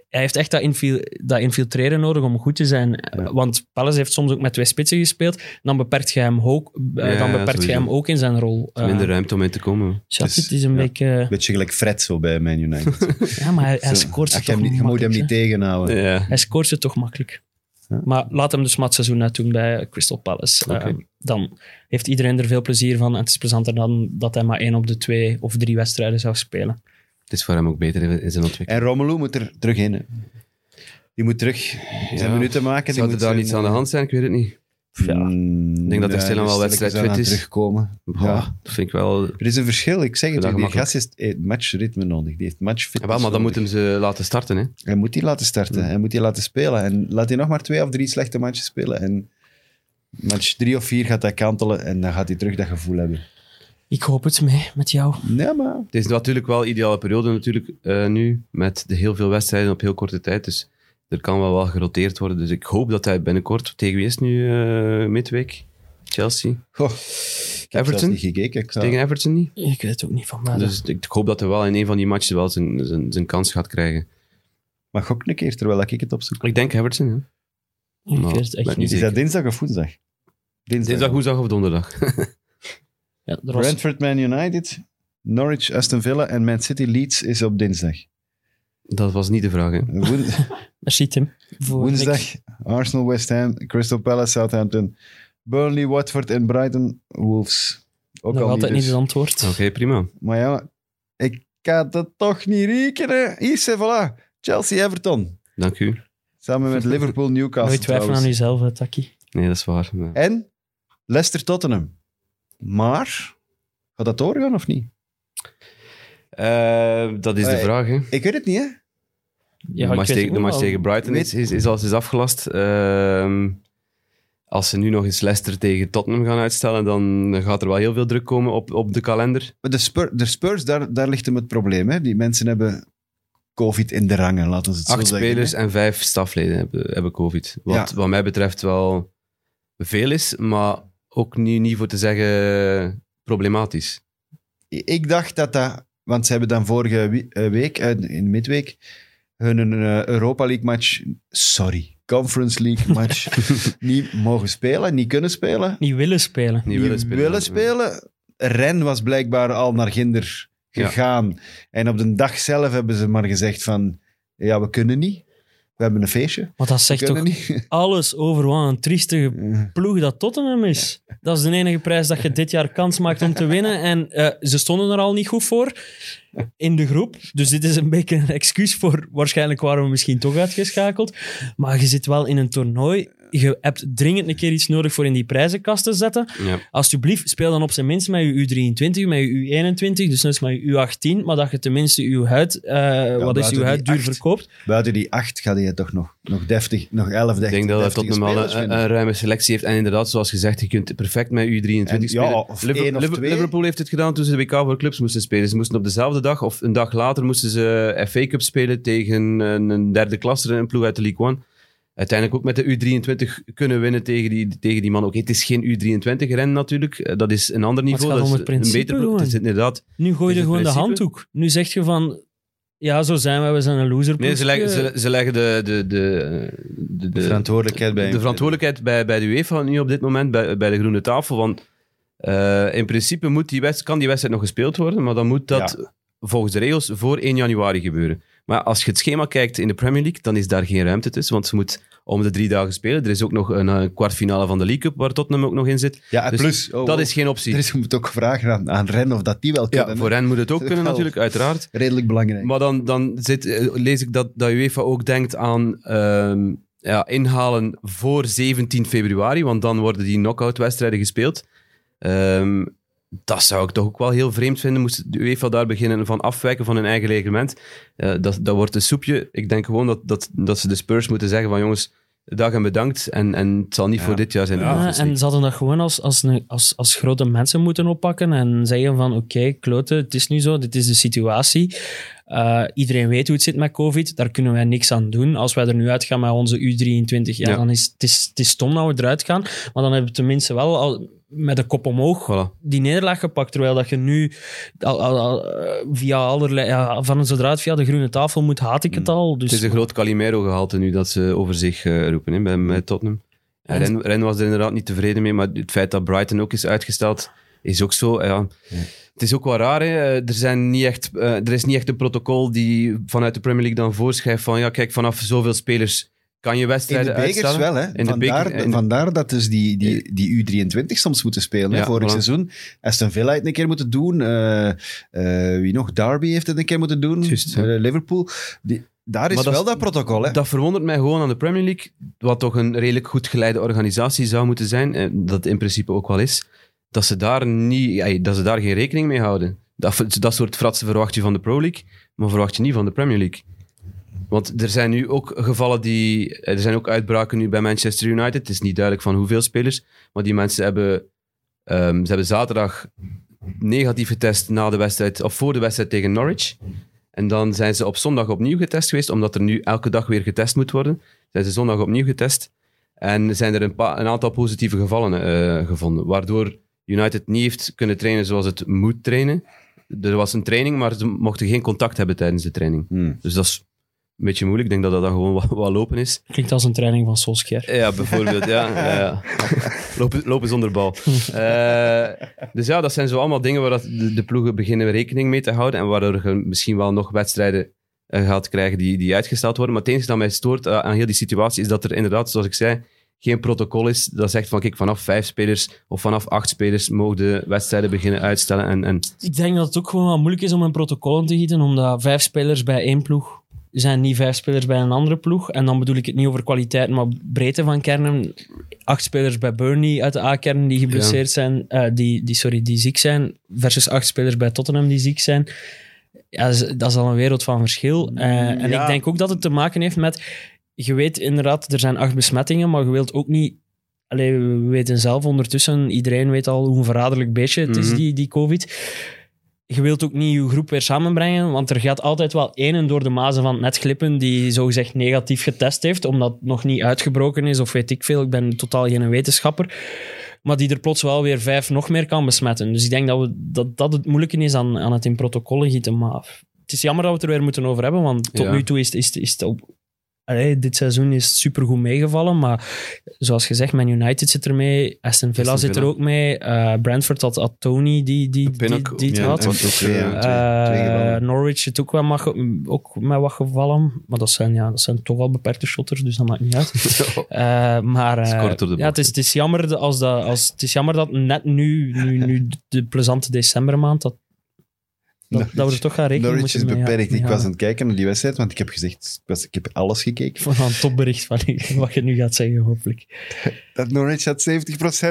Speaker 4: Hij heeft echt dat, infil- dat infiltreren nodig om goed te zijn. Want Palace heeft soms ook met twee spitsen gespeeld. Dan beperkt je hem ook, eh,
Speaker 3: Ja,
Speaker 4: dan beperkt je
Speaker 3: sowieso.
Speaker 4: hem ook in zijn rol. Eh,
Speaker 3: Minder ruimte om in te komen.
Speaker 4: Chat,
Speaker 2: Dus,
Speaker 4: het is een
Speaker 2: ja.
Speaker 4: beetje... eh,
Speaker 2: Beetje gelijk Fred zo bij Man United.
Speaker 4: Ja, maar hij, hij
Speaker 2: Zo.
Speaker 4: scoort ze
Speaker 2: Ach, je
Speaker 4: toch
Speaker 2: hem niet- je moet
Speaker 4: makkelijk.
Speaker 2: hem
Speaker 4: hè?
Speaker 2: niet tegenhouden.
Speaker 3: Ja.
Speaker 4: Hij scoort ze toch makkelijk.
Speaker 2: Ja.
Speaker 4: Maar laat hem dus maar het seizoen uitdoen bij Crystal Palace.
Speaker 3: Oké.
Speaker 4: Ehm, dan heeft iedereen er veel plezier van. En het is plezanter dan dat hij maar één op de twee of drie wedstrijden zou spelen.
Speaker 3: Het is voor hem ook beter in- in zijn ontwikkeling.
Speaker 2: En Romelu moet er terug in. hè. Die moet terug zijn
Speaker 3: Ja.
Speaker 2: minuten maken. die
Speaker 3: Zou er
Speaker 2: moet
Speaker 3: daar
Speaker 2: zijn- eh,
Speaker 3: niets aan de hand zijn? Ik weet het niet.
Speaker 4: Ja.
Speaker 2: Mm,
Speaker 3: Ik denk dat hij
Speaker 2: ja,
Speaker 3: stilaan wel
Speaker 2: rustig
Speaker 3: wedstrijd
Speaker 2: zou
Speaker 3: fit
Speaker 2: aan
Speaker 3: is.
Speaker 2: terugkomen.
Speaker 3: Boah,
Speaker 2: Ja.
Speaker 3: Dat vind ik wel...
Speaker 2: Er is een verschil, ik zeg het
Speaker 3: Dat
Speaker 2: u. Die
Speaker 3: gemakkelijk.
Speaker 2: gast is- heeft matchritme nodig. Die heeft matchfitness
Speaker 3: Ja, wel, maar dan moet
Speaker 2: nodig.
Speaker 3: hem Hmm. ze laten starten. Hè.
Speaker 2: Hij moet die laten starten. Hij moet die laten spelen. En laat hij nog maar twee of drie slechte matches spelen. En match drie of vier gaat hij kantelen. En dan gaat hij terug dat gevoel hebben.
Speaker 4: Ik hoop het mee met jou.
Speaker 2: Nee, maar...
Speaker 3: Het is natuurlijk wel een ideale periode natuurlijk, eh, nu, met de heel veel wedstrijden op heel korte tijd. Dus er kan wel wel geroteerd worden. Dus ik hoop dat hij binnenkort, tegen wie is het nu eh midweek? Chelsea?
Speaker 2: Goh, ik heb
Speaker 3: Everton?
Speaker 2: zelfs niet gekeken. Ik zou-
Speaker 3: Tegen Everton niet?
Speaker 4: Ik weet het ook niet van mij.
Speaker 3: Dus ik hoop dat hij wel in een van die matchen wel zijn, zijn, zijn kans gaat krijgen.
Speaker 2: Maar gok een keer, terwijl ik het opzoek.
Speaker 3: Ik denk Everton, hè.
Speaker 4: ik
Speaker 3: nou,
Speaker 4: weet het echt
Speaker 3: ben
Speaker 4: niet.
Speaker 2: Is dat dinsdag of woensdag? Dinsdag.
Speaker 3: Dinsdag, woensdag of donderdag.
Speaker 4: Ja, er was-
Speaker 2: Brentford, Man United, Norwich, Aston Villa en Man City Leeds is op dinsdag.
Speaker 3: Dat was niet de vraag, hè.
Speaker 2: Woen-
Speaker 4: Merci Tim. Voor
Speaker 2: woensdag Arsenal, West Ham, Crystal Palace, Southampton, Burnley, Watford en Brighton Wolves. Ook
Speaker 4: Nog
Speaker 2: al
Speaker 4: altijd
Speaker 2: niet
Speaker 4: niet
Speaker 2: dus.
Speaker 4: het antwoord.
Speaker 3: Oké, prima.
Speaker 2: Maar ja, ik kan dat toch niet rekenen. Hier, voilà. Chelsea, Everton.
Speaker 3: Dank u.
Speaker 2: Samen met Liverpool, Newcastle.
Speaker 4: Nooit twijfelen aan
Speaker 2: trouwens.
Speaker 4: jezelf, hè, Taki.
Speaker 3: Nee, dat is waar. maar-
Speaker 2: En Leicester, Tottenham. Maar, gaat dat doorgaan of niet?
Speaker 3: Eh, dat is de
Speaker 2: Nee.
Speaker 3: vraag, hè.
Speaker 2: Ik weet het niet, hè?
Speaker 4: Ja,
Speaker 3: de
Speaker 4: ik
Speaker 3: match,
Speaker 4: weet
Speaker 3: tegen, de
Speaker 4: het
Speaker 3: match
Speaker 4: ook
Speaker 3: tegen Brighton is, is, is, als is afgelast. Ehm, als ze nu nog eens Leicester tegen Tottenham gaan uitstellen, dan gaat er wel heel veel druk komen op, op de kalender.
Speaker 2: Maar de, Spur- de Spurs, daar, daar ligt hem het probleem, hè? Die mensen hebben COVID in de rangen, laten we het zo
Speaker 3: Acht
Speaker 2: zeggen.
Speaker 3: spelers
Speaker 2: hè.
Speaker 3: en vijf stafleden hebben, hebben COVID. Wat
Speaker 2: Ja.
Speaker 3: wat mij betreft wel veel is, maar ook niet, niet voor te zeggen problematisch.
Speaker 2: Ik dacht dat dat... Want ze hebben dan vorige wie- eh, week, eh, in midweek, hun eh, Europa League match... Sorry, Conference League match niet mogen spelen, niet kunnen spelen.
Speaker 4: Niet willen spelen.
Speaker 3: Niet willen spelen.
Speaker 2: willen spelen. Ren was blijkbaar al naar Ginder
Speaker 3: Ja.
Speaker 2: gegaan. En op de dag zelf hebben ze maar gezegd van... Ja, we kunnen niet. We hebben een feestje.
Speaker 4: Want dat
Speaker 2: We
Speaker 4: zegt toch
Speaker 2: kunnen niet. Eh,
Speaker 4: alles over wat een triestige
Speaker 2: Ja.
Speaker 4: ploeg dat Tottenham is. Dat is de enige prijs dat je dit jaar kans maakt om te winnen. En eh, ze stonden er al niet goed voor in de groep. Dus dit is een beetje een excuus voor waarschijnlijk waren we misschien toch uitgeschakeld. Maar je zit wel in een toernooi. Je hebt dringend een keer iets nodig voor in die prijzenkast te zetten.
Speaker 3: Ja.
Speaker 4: Alsjeblieft, speel dan op zijn minst met je U23, met je U21, dus net als met je U18. Maar dat je tenminste je huid, eh, wat is
Speaker 2: buiten
Speaker 4: je
Speaker 2: die
Speaker 4: huid, duur
Speaker 2: acht.
Speaker 4: verkoopt.
Speaker 2: Buiten die acht gaat hij toch nog, nog deftig, nog elf
Speaker 3: Ik
Speaker 2: deftig,
Speaker 3: denk dat dat
Speaker 2: deftige
Speaker 3: Tottenham wel
Speaker 2: spelers
Speaker 3: een, een,
Speaker 2: vinden.
Speaker 3: ruime selectie heeft. En inderdaad, zoals gezegd, je kunt perfect met U23
Speaker 2: En ja,
Speaker 3: spelen.
Speaker 2: of één of twee.
Speaker 3: Liverpool heeft het gedaan toen ze de WK voor clubs moesten spelen. Ze moesten op dezelfde dag of een dag later moesten ze FA Cup spelen tegen een, een derde klasser, een ploeg uit de League One. Uiteindelijk ook met de U23 kunnen winnen tegen die, tegen die man. Oké, het is geen U23-ren natuurlijk. Eh, Dat is een ander
Speaker 4: het
Speaker 3: niveau.
Speaker 4: gaat
Speaker 3: Dat
Speaker 4: om
Speaker 3: is
Speaker 4: het
Speaker 3: een
Speaker 4: principe
Speaker 3: beter ploeg. Het is
Speaker 4: gewoon.
Speaker 3: inderdaad
Speaker 4: Nu gooi
Speaker 3: Is
Speaker 4: je
Speaker 3: het
Speaker 4: gewoon de
Speaker 3: principe?
Speaker 4: handdoek. Nu zeg je van, ja, zo zijn we, we zijn een loser.
Speaker 3: Nee, ze leggen, ze, ze leggen de, de, de, de,
Speaker 2: De verantwoordelijkheid bij
Speaker 3: de verantwoordelijkheid bij, bij de UEFA nu op dit moment, bij, bij de groene tafel. Want eh, in principe moet die wedst- kan die wedstrijd nog gespeeld worden, maar dan moet dat volgens de regels voor 1 januari gebeuren. Maar als je het schema kijkt in de Premier League, dan is daar geen ruimte tussen, want ze moet om de drie dagen spelen. Er is ook nog een, eh, kwartfinale van de League Cup, waar Tottenham ook nog in zit.
Speaker 2: Ja, en
Speaker 3: Dus
Speaker 2: plus... oh,
Speaker 3: dat
Speaker 2: oh,
Speaker 3: is geen optie.
Speaker 2: Er is moet ook vragen aan, aan Ren of dat die wel kunnen.
Speaker 3: ja,
Speaker 2: hè.
Speaker 3: voor hen moet het ook
Speaker 2: Wel.
Speaker 3: kunnen natuurlijk, uiteraard.
Speaker 2: Redelijk belangrijk.
Speaker 3: Maar dan, dan zit, eh, lees ik dat, dat UEFA ook denkt aan ehm, ja, inhalen voor 17 februari, want dan worden die knock-out wedstrijden gespeeld. Ehm, dat zou ik toch ook wel heel vreemd vinden, moest de UEFA daar beginnen van afwijken van hun eigen reglement. Eh, dat, dat wordt een soepje. Ik denk gewoon dat, dat, dat ze de Spurs moeten zeggen van jongens, dag en bedankt. En, en het zal niet
Speaker 2: Ja.
Speaker 3: voor dit jaar zijn. de
Speaker 4: Ja,
Speaker 3: Conference
Speaker 4: en ze hadden dat gewoon als, als, een- als, als grote mensen moeten oppakken en zeggen van oké, kloten, het is nu zo, dit is de situatie. Eh, iedereen weet hoe het zit met COVID, daar kunnen wij niks aan doen. Als wij er nu uitgaan met onze U23, ja,
Speaker 3: Ja.
Speaker 4: dan is het, is het is stom dat we eruit gaan. Maar dan hebben we tenminste wel al met de kop omhoog
Speaker 3: League. Voilà.
Speaker 4: die nederlaag gepakt. Terwijl dat je nu al, al- al, eh, via allerlei, ja, van zodra het via de groene tafel moet, haat ik het al. Dus
Speaker 3: Mm. Het is een groot Calimero-gehalte nu dat ze over zich eh, roepen hè, bij, bij Tottenham. En Ren, Ren was er inderdaad niet tevreden mee, maar het feit dat Brighton ook is uitgesteld, is ook zo. Ja. Het is ook wel raar. Hè. Eh, Er, zijn niet echt, eh, er is niet echt een protocol die vanuit de Premier League dan voorschrijft van ja, kijk, vanaf zoveel spelers kan je
Speaker 2: In
Speaker 3: wedstrijden
Speaker 2: de bekers
Speaker 3: uitstellen.
Speaker 2: wel, hè.
Speaker 3: de
Speaker 2: vandaar,
Speaker 3: beker- in de-
Speaker 2: vandaar dat dus die, die, die U23 soms moeten spelen. hè.
Speaker 3: Ja,
Speaker 2: Vorig
Speaker 3: voilà.
Speaker 2: seizoen Aston Villa heeft het een keer moeten doen. eh, eh, wie nog? Derby heeft het een keer moeten doen.
Speaker 3: Juist, ja.
Speaker 2: Eh, Liverpool. Die, daar is
Speaker 3: Maar dat
Speaker 2: wel
Speaker 3: is-
Speaker 2: dat protocol, hè.
Speaker 3: Dat verwondert mij gewoon aan de Premier League, wat toch een redelijk goed geleide organisatie zou moeten zijn, en dat in principe ook wel is, dat ze daar, niet, ey, dat ze daar geen rekening mee houden. Dat, dat soort fratsen verwacht je van de Pro League, maar verwacht je niet van de Premier League. Want er zijn nu ook gevallen die... Er zijn ook uitbraken nu bij Manchester United. Het is niet duidelijk van hoeveel spelers. Maar die mensen hebben... ehm, ze hebben zaterdag negatief getest na de wedstrijd... Of voor de wedstrijd tegen Norwich. En dan zijn ze op zondag opnieuw getest geweest. Omdat er nu elke dag weer getest moet worden. Zijn ze zondag opnieuw getest. En zijn er een, pa- een aantal positieve gevallen eh, gevonden. Waardoor United niet heeft kunnen trainen zoals het moet trainen. Er was een training, maar ze mochten geen contact hebben tijdens de training.
Speaker 2: Hmm.
Speaker 3: Dus dat is een beetje moeilijk. Ik denk dat dat dan gewoon wat, wat lopen is.
Speaker 4: klinkt als een training van Solskjaer.
Speaker 3: Ja, bijvoorbeeld. ja, ja, ja. Lopen, lopen zonder bal. Eh, dus ja, dat zijn zo allemaal dingen waar dat de, de ploegen beginnen rekening mee te houden. En waardoor je misschien wel nog wedstrijden eh, gaat krijgen die, die uitgesteld worden. Maar het enige dat mij stoort eh, aan heel die situatie is dat er inderdaad, zoals ik zei, geen protocol is dat zegt van kijk, vanaf vijf spelers of vanaf acht spelers mogen de wedstrijden beginnen uitstellen. En, en
Speaker 4: Ik denk dat het ook gewoon wel moeilijk is om een protocol aan te gieten, omdat vijf spelers bij één ploeg zijn niet vijf spelers bij een andere ploeg. En dan bedoel ik het niet over kwaliteit, maar breedte van kernen. Acht spelers bij Burnley uit de A-kern die geblesseerd zijn, eh, die, die, sorry, die ziek zijn, versus acht spelers bij Tottenham die ziek zijn. Ja, z- dat is al een wereld van verschil. Eh, En
Speaker 2: Ja.
Speaker 4: ik denk ook dat het te maken heeft met... Je weet inderdaad, er zijn acht besmettingen, maar je wilt ook niet... Allee, we weten zelf ondertussen, iedereen weet al hoe een verraderlijk beestje het is,
Speaker 3: Mhm.
Speaker 4: die, die COVID je wilt ook niet je groep weer samenbrengen, want er gaat altijd wel één door de mazen van het net glippen die zogezegd negatief getest heeft, omdat het nog niet uitgebroken is of weet ik veel. Ik ben totaal geen wetenschapper. Maar die er plots wel weer vijf nog meer kan besmetten. Dus ik denk dat we, dat, dat het moeilijke is aan, aan het in protocollen gieten. Maar het is jammer dat we het er weer moeten over hebben, want tot
Speaker 3: Ja.
Speaker 4: nu toe is, het- is, het- is het op... Allee, dit seizoen is supergoed meegevallen, maar zoals gezegd, Man United zit er mee, Aston Villa
Speaker 3: Aston
Speaker 4: zit er
Speaker 3: Villa.
Speaker 4: ook mee, eh, Brentford had, had Tony die, die, die,
Speaker 3: Pinnock,
Speaker 4: die het
Speaker 2: Ja,
Speaker 4: had.
Speaker 2: en
Speaker 3: was ook,
Speaker 2: twee,
Speaker 3: eh,
Speaker 2: ja,
Speaker 3: eh,
Speaker 2: twee- twee
Speaker 4: Eh,
Speaker 2: gevallen.
Speaker 4: Norwich zit ook, wel mag, ook met wat gevallen. Maar dat zijn, ja, dat zijn toch wel beperkte shotters, dus dat maakt niet uit. Eh, maar eh,
Speaker 3: is kort door de
Speaker 4: ja,
Speaker 3: bocht,
Speaker 4: het, is, het, is jammer dat als dat, als, het is jammer dat net nu, nu, nu de plezante decembermaand, dat, dat, dat we er toch gaan rekenen
Speaker 2: Norwich is
Speaker 4: moeten mee-
Speaker 2: beperkt.
Speaker 4: mee
Speaker 2: Ik was aan
Speaker 4: houden.
Speaker 2: het kijken naar die wedstrijd, want ik heb gezegd, ik, was, ik heb alles gekeken.
Speaker 4: Voor een topbericht van u, wat je nu gaat zeggen, hopelijk.
Speaker 2: Dat Norwich had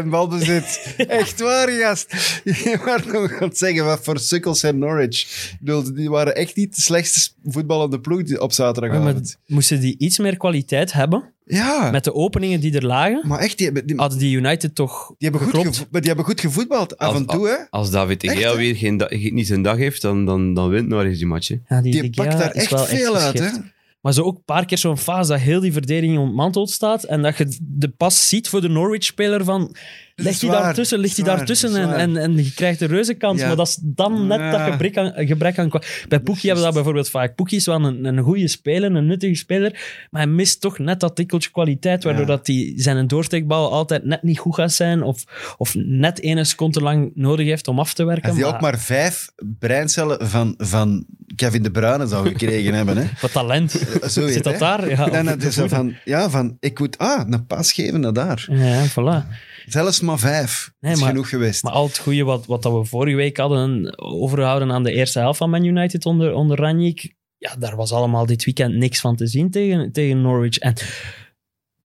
Speaker 2: 70% balbezit. Echt waar, gast. Je was nog aan het zeggen, wat voor sukkels zijn Norwich. Ik bedoel, die waren echt niet de slechtste voetballende ploeg die- op
Speaker 4: Maar
Speaker 2: zaterdagavond.
Speaker 4: moesten die iets meer kwaliteit hebben,
Speaker 2: Ja,
Speaker 4: met de openingen die er lagen,
Speaker 2: maar echt, die hebben, die,
Speaker 4: hadden die United toch
Speaker 2: die hebben, goed,
Speaker 4: geklopt.
Speaker 2: gevo- maar die hebben goed gevoetbald, af
Speaker 3: Als-
Speaker 2: en toe. Hè.
Speaker 3: Als David
Speaker 2: Echt,
Speaker 3: Egea
Speaker 2: hè?
Speaker 3: weer geen da- ge- niet zijn dag heeft, dan, dan, dan wint Norwich die match. hè.
Speaker 4: Ja, die,
Speaker 2: Die,
Speaker 4: De Gea
Speaker 2: pakt daar
Speaker 4: is
Speaker 2: echt
Speaker 4: wel
Speaker 2: veel uit. Hè.
Speaker 4: geschikt. Maar zo ook een paar keer zo'n fase dat heel die verdediging ontmanteld staat en dat je de pas ziet voor de Norwich-speler van... Ligt hij
Speaker 2: waar,
Speaker 4: daartussen, ligt hij
Speaker 2: dat is
Speaker 4: daartussen
Speaker 2: waar,
Speaker 4: en,
Speaker 2: dat is
Speaker 4: en, en je krijgt de reuze kans.
Speaker 2: Ja.
Speaker 4: Maar dat is dan net
Speaker 2: Ja.
Speaker 4: dat gebrek aan... Gebrek aan kwa- Bij Poekie hebben we dat bijvoorbeeld vaak. Poekie is wel een, een goede speler, een nuttige speler, maar hij mist toch net dat tikkeltje kwaliteit, waardoor
Speaker 2: Ja.
Speaker 4: dat die zijn doorsteekbal altijd net niet goed gaat zijn of, of net ene seconde lang nodig heeft om af te werken.
Speaker 2: Als die
Speaker 4: maar,
Speaker 2: ook maar vijf breincellen van, van Kevin De Bruyne zou gekregen hebben. Hè.
Speaker 4: Wat talent.
Speaker 2: Zo
Speaker 4: Zit
Speaker 2: weet,
Speaker 4: dat
Speaker 2: hè.
Speaker 4: daar? Ja,
Speaker 2: Dan
Speaker 4: of-
Speaker 2: had je zo van, ja, van, ik moet ah, een pas geven naar daar.
Speaker 4: ja voilà.
Speaker 2: Zelfs maar vijf.
Speaker 4: Nee,
Speaker 2: is
Speaker 4: maar-
Speaker 2: genoeg geweest.
Speaker 4: Maar al het goede wat, wat dat we vorige week hadden overgehouden aan de eerste helft van Man United onder, onder Ranjik, ja, daar was allemaal dit weekend niks van te zien tegen, tegen Norwich. En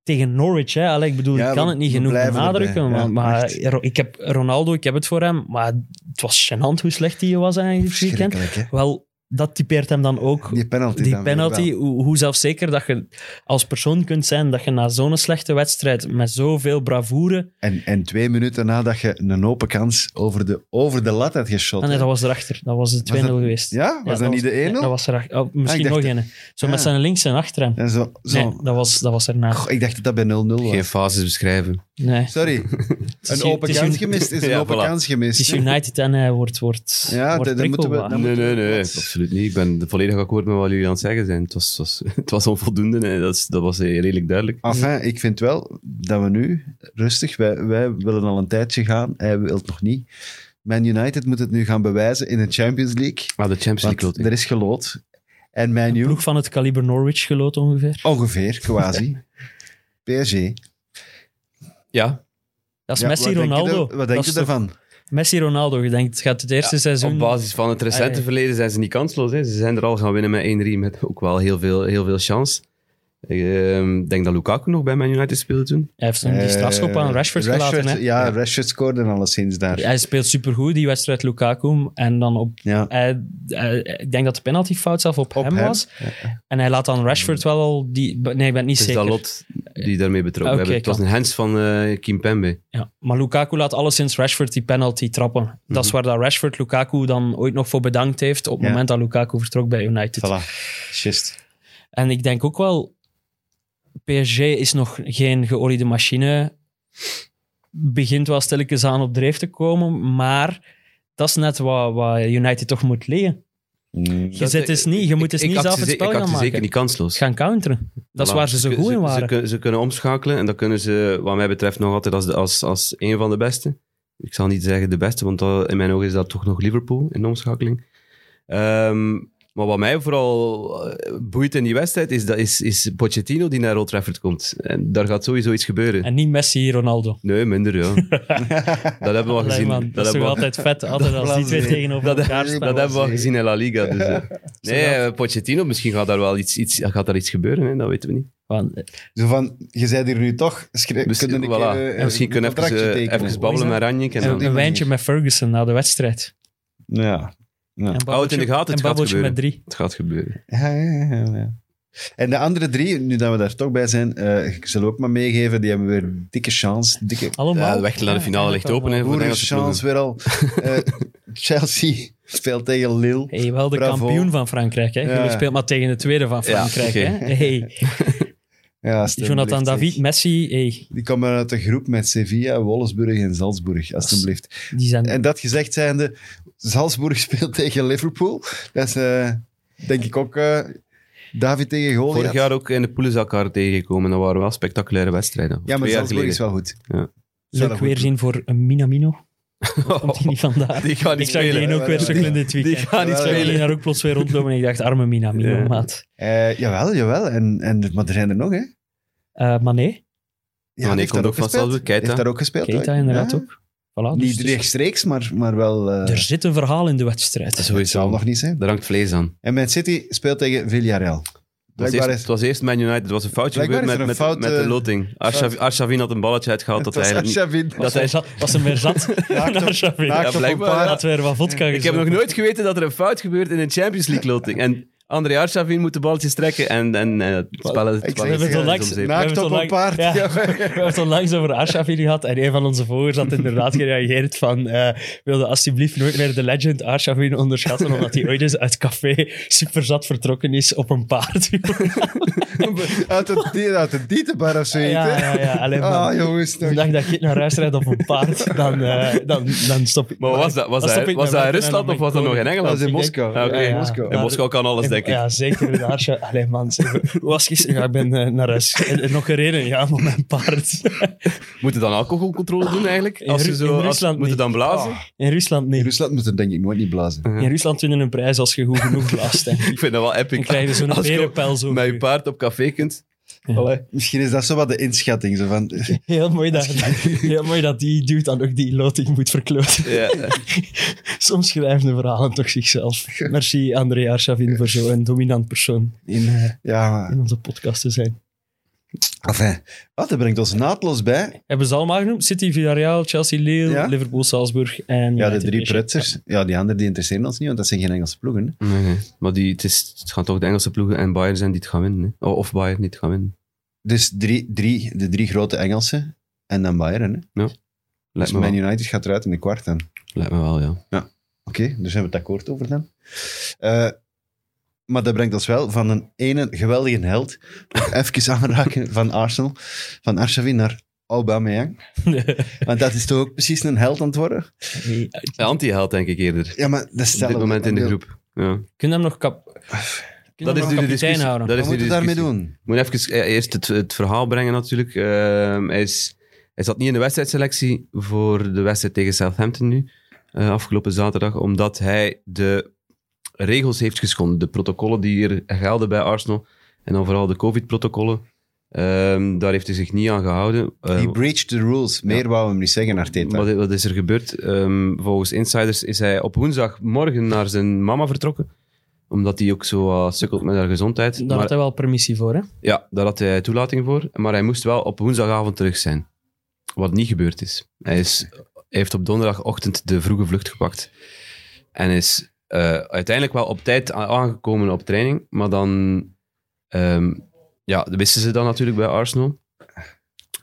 Speaker 4: tegen Norwich, hè, allee, ik bedoel,
Speaker 2: Ja,
Speaker 4: ik kan
Speaker 2: we-
Speaker 4: het niet
Speaker 2: we
Speaker 4: genoeg
Speaker 2: blijven
Speaker 4: benadrukken.
Speaker 2: erbij.
Speaker 4: maar
Speaker 2: Ja,
Speaker 4: maar
Speaker 2: echt.
Speaker 4: Ro- ik heb Ronaldo, ik heb het voor hem, maar het was gênant hoe slecht hij was eigenlijk dit weekend.
Speaker 2: Verschrikkelijk, hè.
Speaker 4: Wel, dat typeert hem dan ook.
Speaker 2: Die penalty
Speaker 4: Die
Speaker 2: dan weer
Speaker 4: penalty,
Speaker 2: wel.
Speaker 4: hoe, hoe zelfzeker dat je als persoon kunt zijn dat je na zo'n slechte wedstrijd met zoveel bravoure
Speaker 2: En, en twee minuten nadat je een open kans over de, over de lat had
Speaker 4: Ah,
Speaker 2: geschoten.
Speaker 4: nee, dat was erachter. Dat was de 2-0
Speaker 2: eh, dat-
Speaker 4: geweest.
Speaker 2: Ja? Was dat, niet de 1-0?
Speaker 4: nee, dat was erachter. Oh, misschien
Speaker 2: Ah, ik
Speaker 4: nog
Speaker 2: dacht
Speaker 4: een. Zo
Speaker 2: Ja.
Speaker 4: met zijn links en achter hem.
Speaker 2: En zo, zo.
Speaker 4: Nee, dat was, dat was erna.
Speaker 2: Goh, ik dacht dat dat bij 0-0 was.
Speaker 3: Geen fases beschrijven.
Speaker 4: Nee.
Speaker 2: Sorry,
Speaker 4: Het is-
Speaker 2: een open
Speaker 4: het is-
Speaker 2: kans gemist is een
Speaker 3: Ja,
Speaker 2: open
Speaker 3: voilà.
Speaker 2: kans
Speaker 4: Het is
Speaker 2: gemist.
Speaker 4: United en hij wordt, wordt,
Speaker 2: Ja,
Speaker 4: wordt
Speaker 2: dat- dat moeten we-
Speaker 4: prikkelbaar.
Speaker 2: dat
Speaker 3: Nee, nee, nee,
Speaker 2: Wat?
Speaker 3: absoluut niet. Ik ben volledig akkoord met wat jullie aan het zeggen zijn. Het was, was, het was onvoldoende en dat, is- dat was eh, redelijk duidelijk.
Speaker 2: Enfin, ik vind wel dat we nu rustig, wij, wij willen al een tijdje gaan, hij wil het nog niet. Man United moet het nu gaan bewijzen in de Champions League.
Speaker 3: Maar Ah, de Champions
Speaker 2: Want
Speaker 3: League loting.
Speaker 2: er is gelood. En Man U,
Speaker 4: Ploeg van het kaliber Norwich geloot ongeveer.
Speaker 2: ongeveer, quasi. PSG.
Speaker 3: Ja,
Speaker 4: Dat is
Speaker 2: Ja,
Speaker 4: Messi,
Speaker 2: wat denk je
Speaker 4: Ronaldo.
Speaker 2: daar- Wat
Speaker 4: Dat
Speaker 2: denk
Speaker 4: is
Speaker 2: je
Speaker 4: toch-
Speaker 2: daarvan?
Speaker 4: Messi, Ronaldo. Je denkt, het gaat het eerste seizoen...
Speaker 3: op basis van het recente
Speaker 4: Allee.
Speaker 3: verleden zijn ze niet kansloos. Hè. Ze zijn er al gaan winnen met 1-3 met ook wel heel veel, heel veel chance. Ik ehm, denk dat Lukaku nog bij Man United speelde toen.
Speaker 4: Hij heeft toen die
Speaker 2: Eh,
Speaker 4: strafschop aan Rashford, gelaten. Hè?
Speaker 2: Ja, Rashford scoorde alleszins daar. Ja.
Speaker 4: Hij speelt supergoed, die wedstrijd Lukaku. En dan op Hij- hij- Eh, ik denk dat de penaltyfout zelf op,
Speaker 2: Op
Speaker 4: hem,
Speaker 2: hem,
Speaker 4: was. En hij laat dan Rashford wel al die... Nee, ik ben niet
Speaker 3: Het is
Speaker 4: zeker. Ah,
Speaker 3: dat lot die daarmee betrokken
Speaker 4: Oké,
Speaker 3: hebben. Het was
Speaker 4: kan.
Speaker 3: een hands van eh Kim Pembe.
Speaker 4: Ja. Maar Lukaku laat alleszins Rashford die penalty trappen. Dat is waar dat Rashford Lukaku dan ooit nog voor bedankt heeft op het
Speaker 2: Mhm. Ja.
Speaker 4: moment dat Lukaku vertrok bij United.
Speaker 2: Voilà, just.
Speaker 4: En ik denk ook wel... PSG is nog geen geoliede machine. Begint wel stilletjes aan op dreef te komen, maar... Dat is net wat, wat United toch moet leren.
Speaker 2: Mm.
Speaker 4: Je zit dus niet, je moet dus
Speaker 3: eh, Ik- ik
Speaker 4: niet
Speaker 3: acht
Speaker 4: zelf
Speaker 3: ze
Speaker 4: het
Speaker 3: ze-
Speaker 4: spel
Speaker 3: ik acht
Speaker 4: gaan
Speaker 3: ze
Speaker 4: maken.
Speaker 3: zeker niet kansloos.
Speaker 4: gaan counteren. Dat is
Speaker 3: Voilà.
Speaker 4: waar ze zo
Speaker 3: kun-
Speaker 4: goed in
Speaker 3: Ze,
Speaker 4: waren.
Speaker 3: kun- ze kunnen omschakelen en dat kunnen ze, wat mij betreft, nog altijd als, de- als, als een van de beste. Ik zal niet zeggen de beste, want dat- in mijn ogen is dat toch nog Liverpool in de omschakeling. Ehm, Maar wat mij vooral eh, boeit in die wedstrijd is, dat is, is Pochettino die naar Old Trafford komt. En daar gaat sowieso iets gebeuren.
Speaker 4: En niet Messi, Ronaldo.
Speaker 3: Nee, minder, ja. dat hebben we al
Speaker 4: Allee,
Speaker 3: gezien.
Speaker 4: man, dat, is
Speaker 3: hebben
Speaker 4: toch
Speaker 3: we al-
Speaker 4: altijd vet, altijd als die twee tegenover
Speaker 3: dat,
Speaker 4: elkaar
Speaker 3: dat
Speaker 4: staan.
Speaker 3: hebben we al gezien in La Liga. Dus, eh. nee, eh, Pochettino, misschien gaat daar wel iets, iets, gaat daar iets gebeuren, hè, dat weten we niet.
Speaker 4: Want, eh,
Speaker 2: Zo van, je bent hier nu toch, schrijf,
Speaker 3: Dus,
Speaker 2: kunnen we een
Speaker 3: voilà.
Speaker 2: keer, eh,
Speaker 3: En misschien
Speaker 2: een
Speaker 3: kunnen we even,
Speaker 2: contractje
Speaker 3: eh,
Speaker 2: tekenen.
Speaker 3: even babbelen
Speaker 4: Hoe
Speaker 3: met
Speaker 4: is
Speaker 3: Ranjik. En
Speaker 2: Zo,
Speaker 3: dan,
Speaker 2: die-
Speaker 4: Een wijntje met Ferguson na de wedstrijd.
Speaker 2: Ja. Ja.
Speaker 4: En
Speaker 3: Houd het in de gaten, het
Speaker 4: en
Speaker 3: gaat
Speaker 4: babbeltje
Speaker 3: gebeuren.
Speaker 4: met drie.
Speaker 3: het gaat gebeuren.
Speaker 2: Ja, ja, ja, ja. En de andere drie, nu dat we daar toch bij zijn, eh ik zal ook maar meegeven, die hebben weer dikke chance. Dikke
Speaker 4: Allemaal.
Speaker 3: Ja, de weg naar de finale ligt open. Hè, voor de Engelse
Speaker 2: boerenchance weer al. Eh, Chelsea speelt tegen Lille.
Speaker 4: Hey, wel de
Speaker 2: Bravo.
Speaker 4: kampioen van Frankrijk. Hè?
Speaker 2: Ja.
Speaker 4: Jullie speelt maar tegen de tweede van
Speaker 3: Ja,
Speaker 4: Frankrijk.
Speaker 3: oké.
Speaker 4: hè? Hey,
Speaker 2: Ja, Stem
Speaker 4: Jonathan
Speaker 2: Blicht,
Speaker 4: David,
Speaker 2: zeg.
Speaker 4: Messi, hey,
Speaker 2: Die komen uit de groep met Sevilla, Wolfsburg en Salzburg, alstublieft.
Speaker 4: die zijn...
Speaker 2: En dat gezegd zijnde, Salzburg speelt tegen Liverpool. Dat is, eh, denk ik ook, eh, David tegen Goliath.
Speaker 3: Vorig jaar ook in de poelen elkaar tegengekomen. Dat waren wel spectaculaire wedstrijden.
Speaker 2: Ja, maar
Speaker 3: Twee jaar
Speaker 2: Salzburg is
Speaker 3: geleden.
Speaker 2: wel goed.
Speaker 3: Ja.
Speaker 2: Is wel
Speaker 4: Leuk
Speaker 2: een goed
Speaker 4: weerzien voor een Minamino. Komt die niet vandaag?
Speaker 3: Oh, Die gaan
Speaker 4: Ik
Speaker 3: niet
Speaker 4: zag die
Speaker 3: spelen.
Speaker 4: ook weer sukkelen dit
Speaker 3: Die
Speaker 4: weekend.
Speaker 3: gaan niet
Speaker 2: Ja,
Speaker 4: Ik zag
Speaker 3: spelen.
Speaker 4: die daar ook plots weer rondlopen en ik dacht, arme Minamino,
Speaker 3: Ja.
Speaker 4: maat.
Speaker 2: Eh, jawel, jawel. En, en, maar er zijn er nog, hè?
Speaker 4: Eh maar nee,
Speaker 2: Ja,
Speaker 3: Ah, nee,
Speaker 2: heeft
Speaker 3: komt
Speaker 2: daar
Speaker 3: ook van
Speaker 2: gespeeld.
Speaker 3: Salzburg, Keita.
Speaker 2: Heeft daar ook gespeeld.
Speaker 4: Keita
Speaker 2: hoor.
Speaker 4: inderdaad
Speaker 2: Ja.
Speaker 4: ook. Voilà, dus-
Speaker 2: Niet
Speaker 4: dus-
Speaker 2: rechtstreeks, maar, maar wel... eh
Speaker 4: er zit een verhaal in de wedstrijd.
Speaker 3: Dat is
Speaker 2: het zal
Speaker 3: sowieso.
Speaker 2: nog niet zijn.
Speaker 3: Daar hangt vlees aan.
Speaker 2: En Man City speelt tegen Villarreal.
Speaker 3: Het was,
Speaker 2: Blijkbaar
Speaker 3: eerst,
Speaker 2: is-
Speaker 3: het was eerst Man United. Het was een foutje
Speaker 2: Blijkbaar
Speaker 3: gebeurd
Speaker 2: is
Speaker 3: met,
Speaker 2: er
Speaker 3: met,
Speaker 2: een fout,
Speaker 3: met de
Speaker 2: eh,
Speaker 3: loting. Arshavin had een balletje uitgehaald dat
Speaker 2: Het
Speaker 3: hij
Speaker 2: was
Speaker 3: eigenlijk niet...
Speaker 2: Arshavin.
Speaker 3: Dat hij,
Speaker 4: zat, was hem weer zat.
Speaker 2: Naakt op-
Speaker 4: naar Xavi.
Speaker 2: naakt
Speaker 3: Ja,
Speaker 2: op een
Speaker 3: blijkbaar,
Speaker 2: paar.
Speaker 3: ja.
Speaker 4: Had weer wat vodka
Speaker 3: ik heb nog nooit geweten dat er een fout gebeurt in een Champions League loting. En André Arshavin moet de balletjes trekken en, en eh, het spel het
Speaker 2: Ik
Speaker 3: spel
Speaker 2: zeg
Speaker 3: is
Speaker 2: het,
Speaker 3: om
Speaker 4: relax.
Speaker 3: zeep.
Speaker 4: Nou,
Speaker 2: Naakt
Speaker 4: We
Speaker 2: op
Speaker 4: hebben het
Speaker 2: een
Speaker 4: al lang-
Speaker 2: paard.
Speaker 4: Ja.
Speaker 2: Ja.
Speaker 4: We hebben het onlangs over Arshavin gehad en een van onze volgers had inderdaad gereageerd van eh, wilde alsjeblieft nooit meer de legend Arshavin onderschatten omdat hij ooit eens uit café superzat vertrokken is op een paard.
Speaker 2: Uit de, die- uit de dietenbar of zoiets.
Speaker 4: ja,
Speaker 2: hè?
Speaker 4: ja, ja. Alleen
Speaker 2: Ah,
Speaker 4: maar
Speaker 2: jongens.
Speaker 4: de
Speaker 2: Toch.
Speaker 4: dag dat ik naar huis rijd op een paard, dan, eh, dan, dan stop ik.
Speaker 3: Maar wat was dat? Was
Speaker 4: Dan stop
Speaker 3: dat,
Speaker 4: ik
Speaker 3: was
Speaker 4: met
Speaker 3: dat in
Speaker 4: werken en
Speaker 3: Rusland
Speaker 4: dan
Speaker 3: of was dat
Speaker 4: ben
Speaker 3: nog in
Speaker 4: ik
Speaker 2: Dat is
Speaker 3: Engeland?
Speaker 2: in
Speaker 4: Ik denk-
Speaker 2: Moskou.
Speaker 3: Ah, oké.
Speaker 4: Ja, ja.
Speaker 2: Moskou.
Speaker 3: In
Speaker 4: Ja,
Speaker 3: Moskou kan alles,
Speaker 4: Ik-
Speaker 3: denk ik.
Speaker 4: Ja, zeker. De Arsha. Allee, man. zeg, Hoe was gisteren? Ja, ik ben eh, naar huis. En, en nog een reden? Ja, maar mijn paard.
Speaker 3: Moeten dan alcoholcontrole doen eigenlijk?
Speaker 4: In
Speaker 3: Als ze
Speaker 4: Ru-
Speaker 3: zo,
Speaker 4: in
Speaker 3: als,
Speaker 4: Rusland
Speaker 3: moeten
Speaker 4: niet.
Speaker 3: dan blazen?
Speaker 4: In Rusland
Speaker 2: In
Speaker 4: niet.
Speaker 2: Rusland moet er denk ik nooit niet blazen.
Speaker 4: In Rusland winnen een prijs als je goed genoeg blaast. denk ik.
Speaker 3: Ik dus vind dat wel epic.
Speaker 4: Dan krijg je zo'n
Speaker 3: Als je
Speaker 4: berenpijl zo.
Speaker 3: met je paard op café kunt. Allee.
Speaker 2: Misschien is dat zo wat de inschatting. Zo van,
Speaker 4: Heel mooi, dat, heel mooi dat die dude dan ook die loting moet verkloten.
Speaker 3: Ja.
Speaker 4: Soms schrijven de verhalen toch zichzelf. Merci André Arshavin voor zo'n dominant persoon in, eh,
Speaker 2: ja, maar...
Speaker 4: in onze podcast te zijn.
Speaker 2: Enfin, wat, dat brengt ons naadloos bij.
Speaker 4: Hebben ze allemaal genoemd? City, Villarreal, Chelsea, Lille,
Speaker 2: Ja.
Speaker 4: Liverpool, Salzburg en...
Speaker 2: Ja, de
Speaker 4: United
Speaker 2: drie
Speaker 4: Nation.
Speaker 2: pretzers. Ja, die anderen die interesseren ons niet, want dat zijn geen Engelse ploegen. hè.
Speaker 3: Nee, nee. Maar die, het, is, het gaan toch de Engelse ploegen en Bayern zijn die het gaan winnen. Hè? O- Of Bayern niet gaan winnen.
Speaker 2: Dus drie, drie, de drie grote Engelsen en dan Bayern. Hè. Dus
Speaker 3: Lijkt me,
Speaker 2: Man
Speaker 3: wel.
Speaker 2: United gaat eruit in de kwart dan.
Speaker 3: Lijkt me wel, ja.
Speaker 2: Oké, dus daar zijn we het akkoord over dan. Eh, maar dat brengt ons wel van een ene geweldige held, nog even aanraken van Arsenal, van Arshavin naar Aubameyang. Want dat is toch ook precies een held aan het worden?
Speaker 4: Nee,
Speaker 3: Anti-held, denk ik eerder.
Speaker 2: Ja, maar dat is
Speaker 3: Op dit moment in de groep. Ja.
Speaker 4: Kunnen we hem nog kap...
Speaker 3: Dat is nu de discussie.
Speaker 4: houden.
Speaker 3: Dat
Speaker 2: Wat
Speaker 3: is
Speaker 2: moeten
Speaker 3: nu de
Speaker 2: we daarmee
Speaker 3: discussie.
Speaker 2: doen?
Speaker 3: Ik moet even eh, eerst het, het verhaal brengen natuurlijk. Ehm, hij, is, hij zat niet in de wedstrijdselectie voor de wedstrijd tegen Southampton nu, eh, afgelopen zaterdag, omdat hij de regels heeft geschonden. De protocollen die hier gelden bij Arsenal, en dan vooral de covid-protocollen, ehm, daar heeft hij zich niet aan gehouden. Eh,
Speaker 2: He breached the rules. Meer wou hem niet zeggen, Arteta.
Speaker 3: wat, wat is er gebeurd? Ehm, volgens insiders is hij op woensdagmorgen naar zijn mama vertrokken, omdat hij ook zo wat sukkelt met haar gezondheid.
Speaker 4: Daar
Speaker 3: Maar-
Speaker 4: had hij wel permissie voor, hè?
Speaker 3: ja, daar had hij toelating voor. Maar hij moest wel op woensdagavond terug zijn. Wat niet gebeurd is. Hij, is, hij heeft op donderdagochtend de vroege vlucht gepakt. En is eh, uiteindelijk wel op tijd a- aangekomen op training. Maar dan... ehm, ja, dat wisten ze dan natuurlijk bij Arsenal.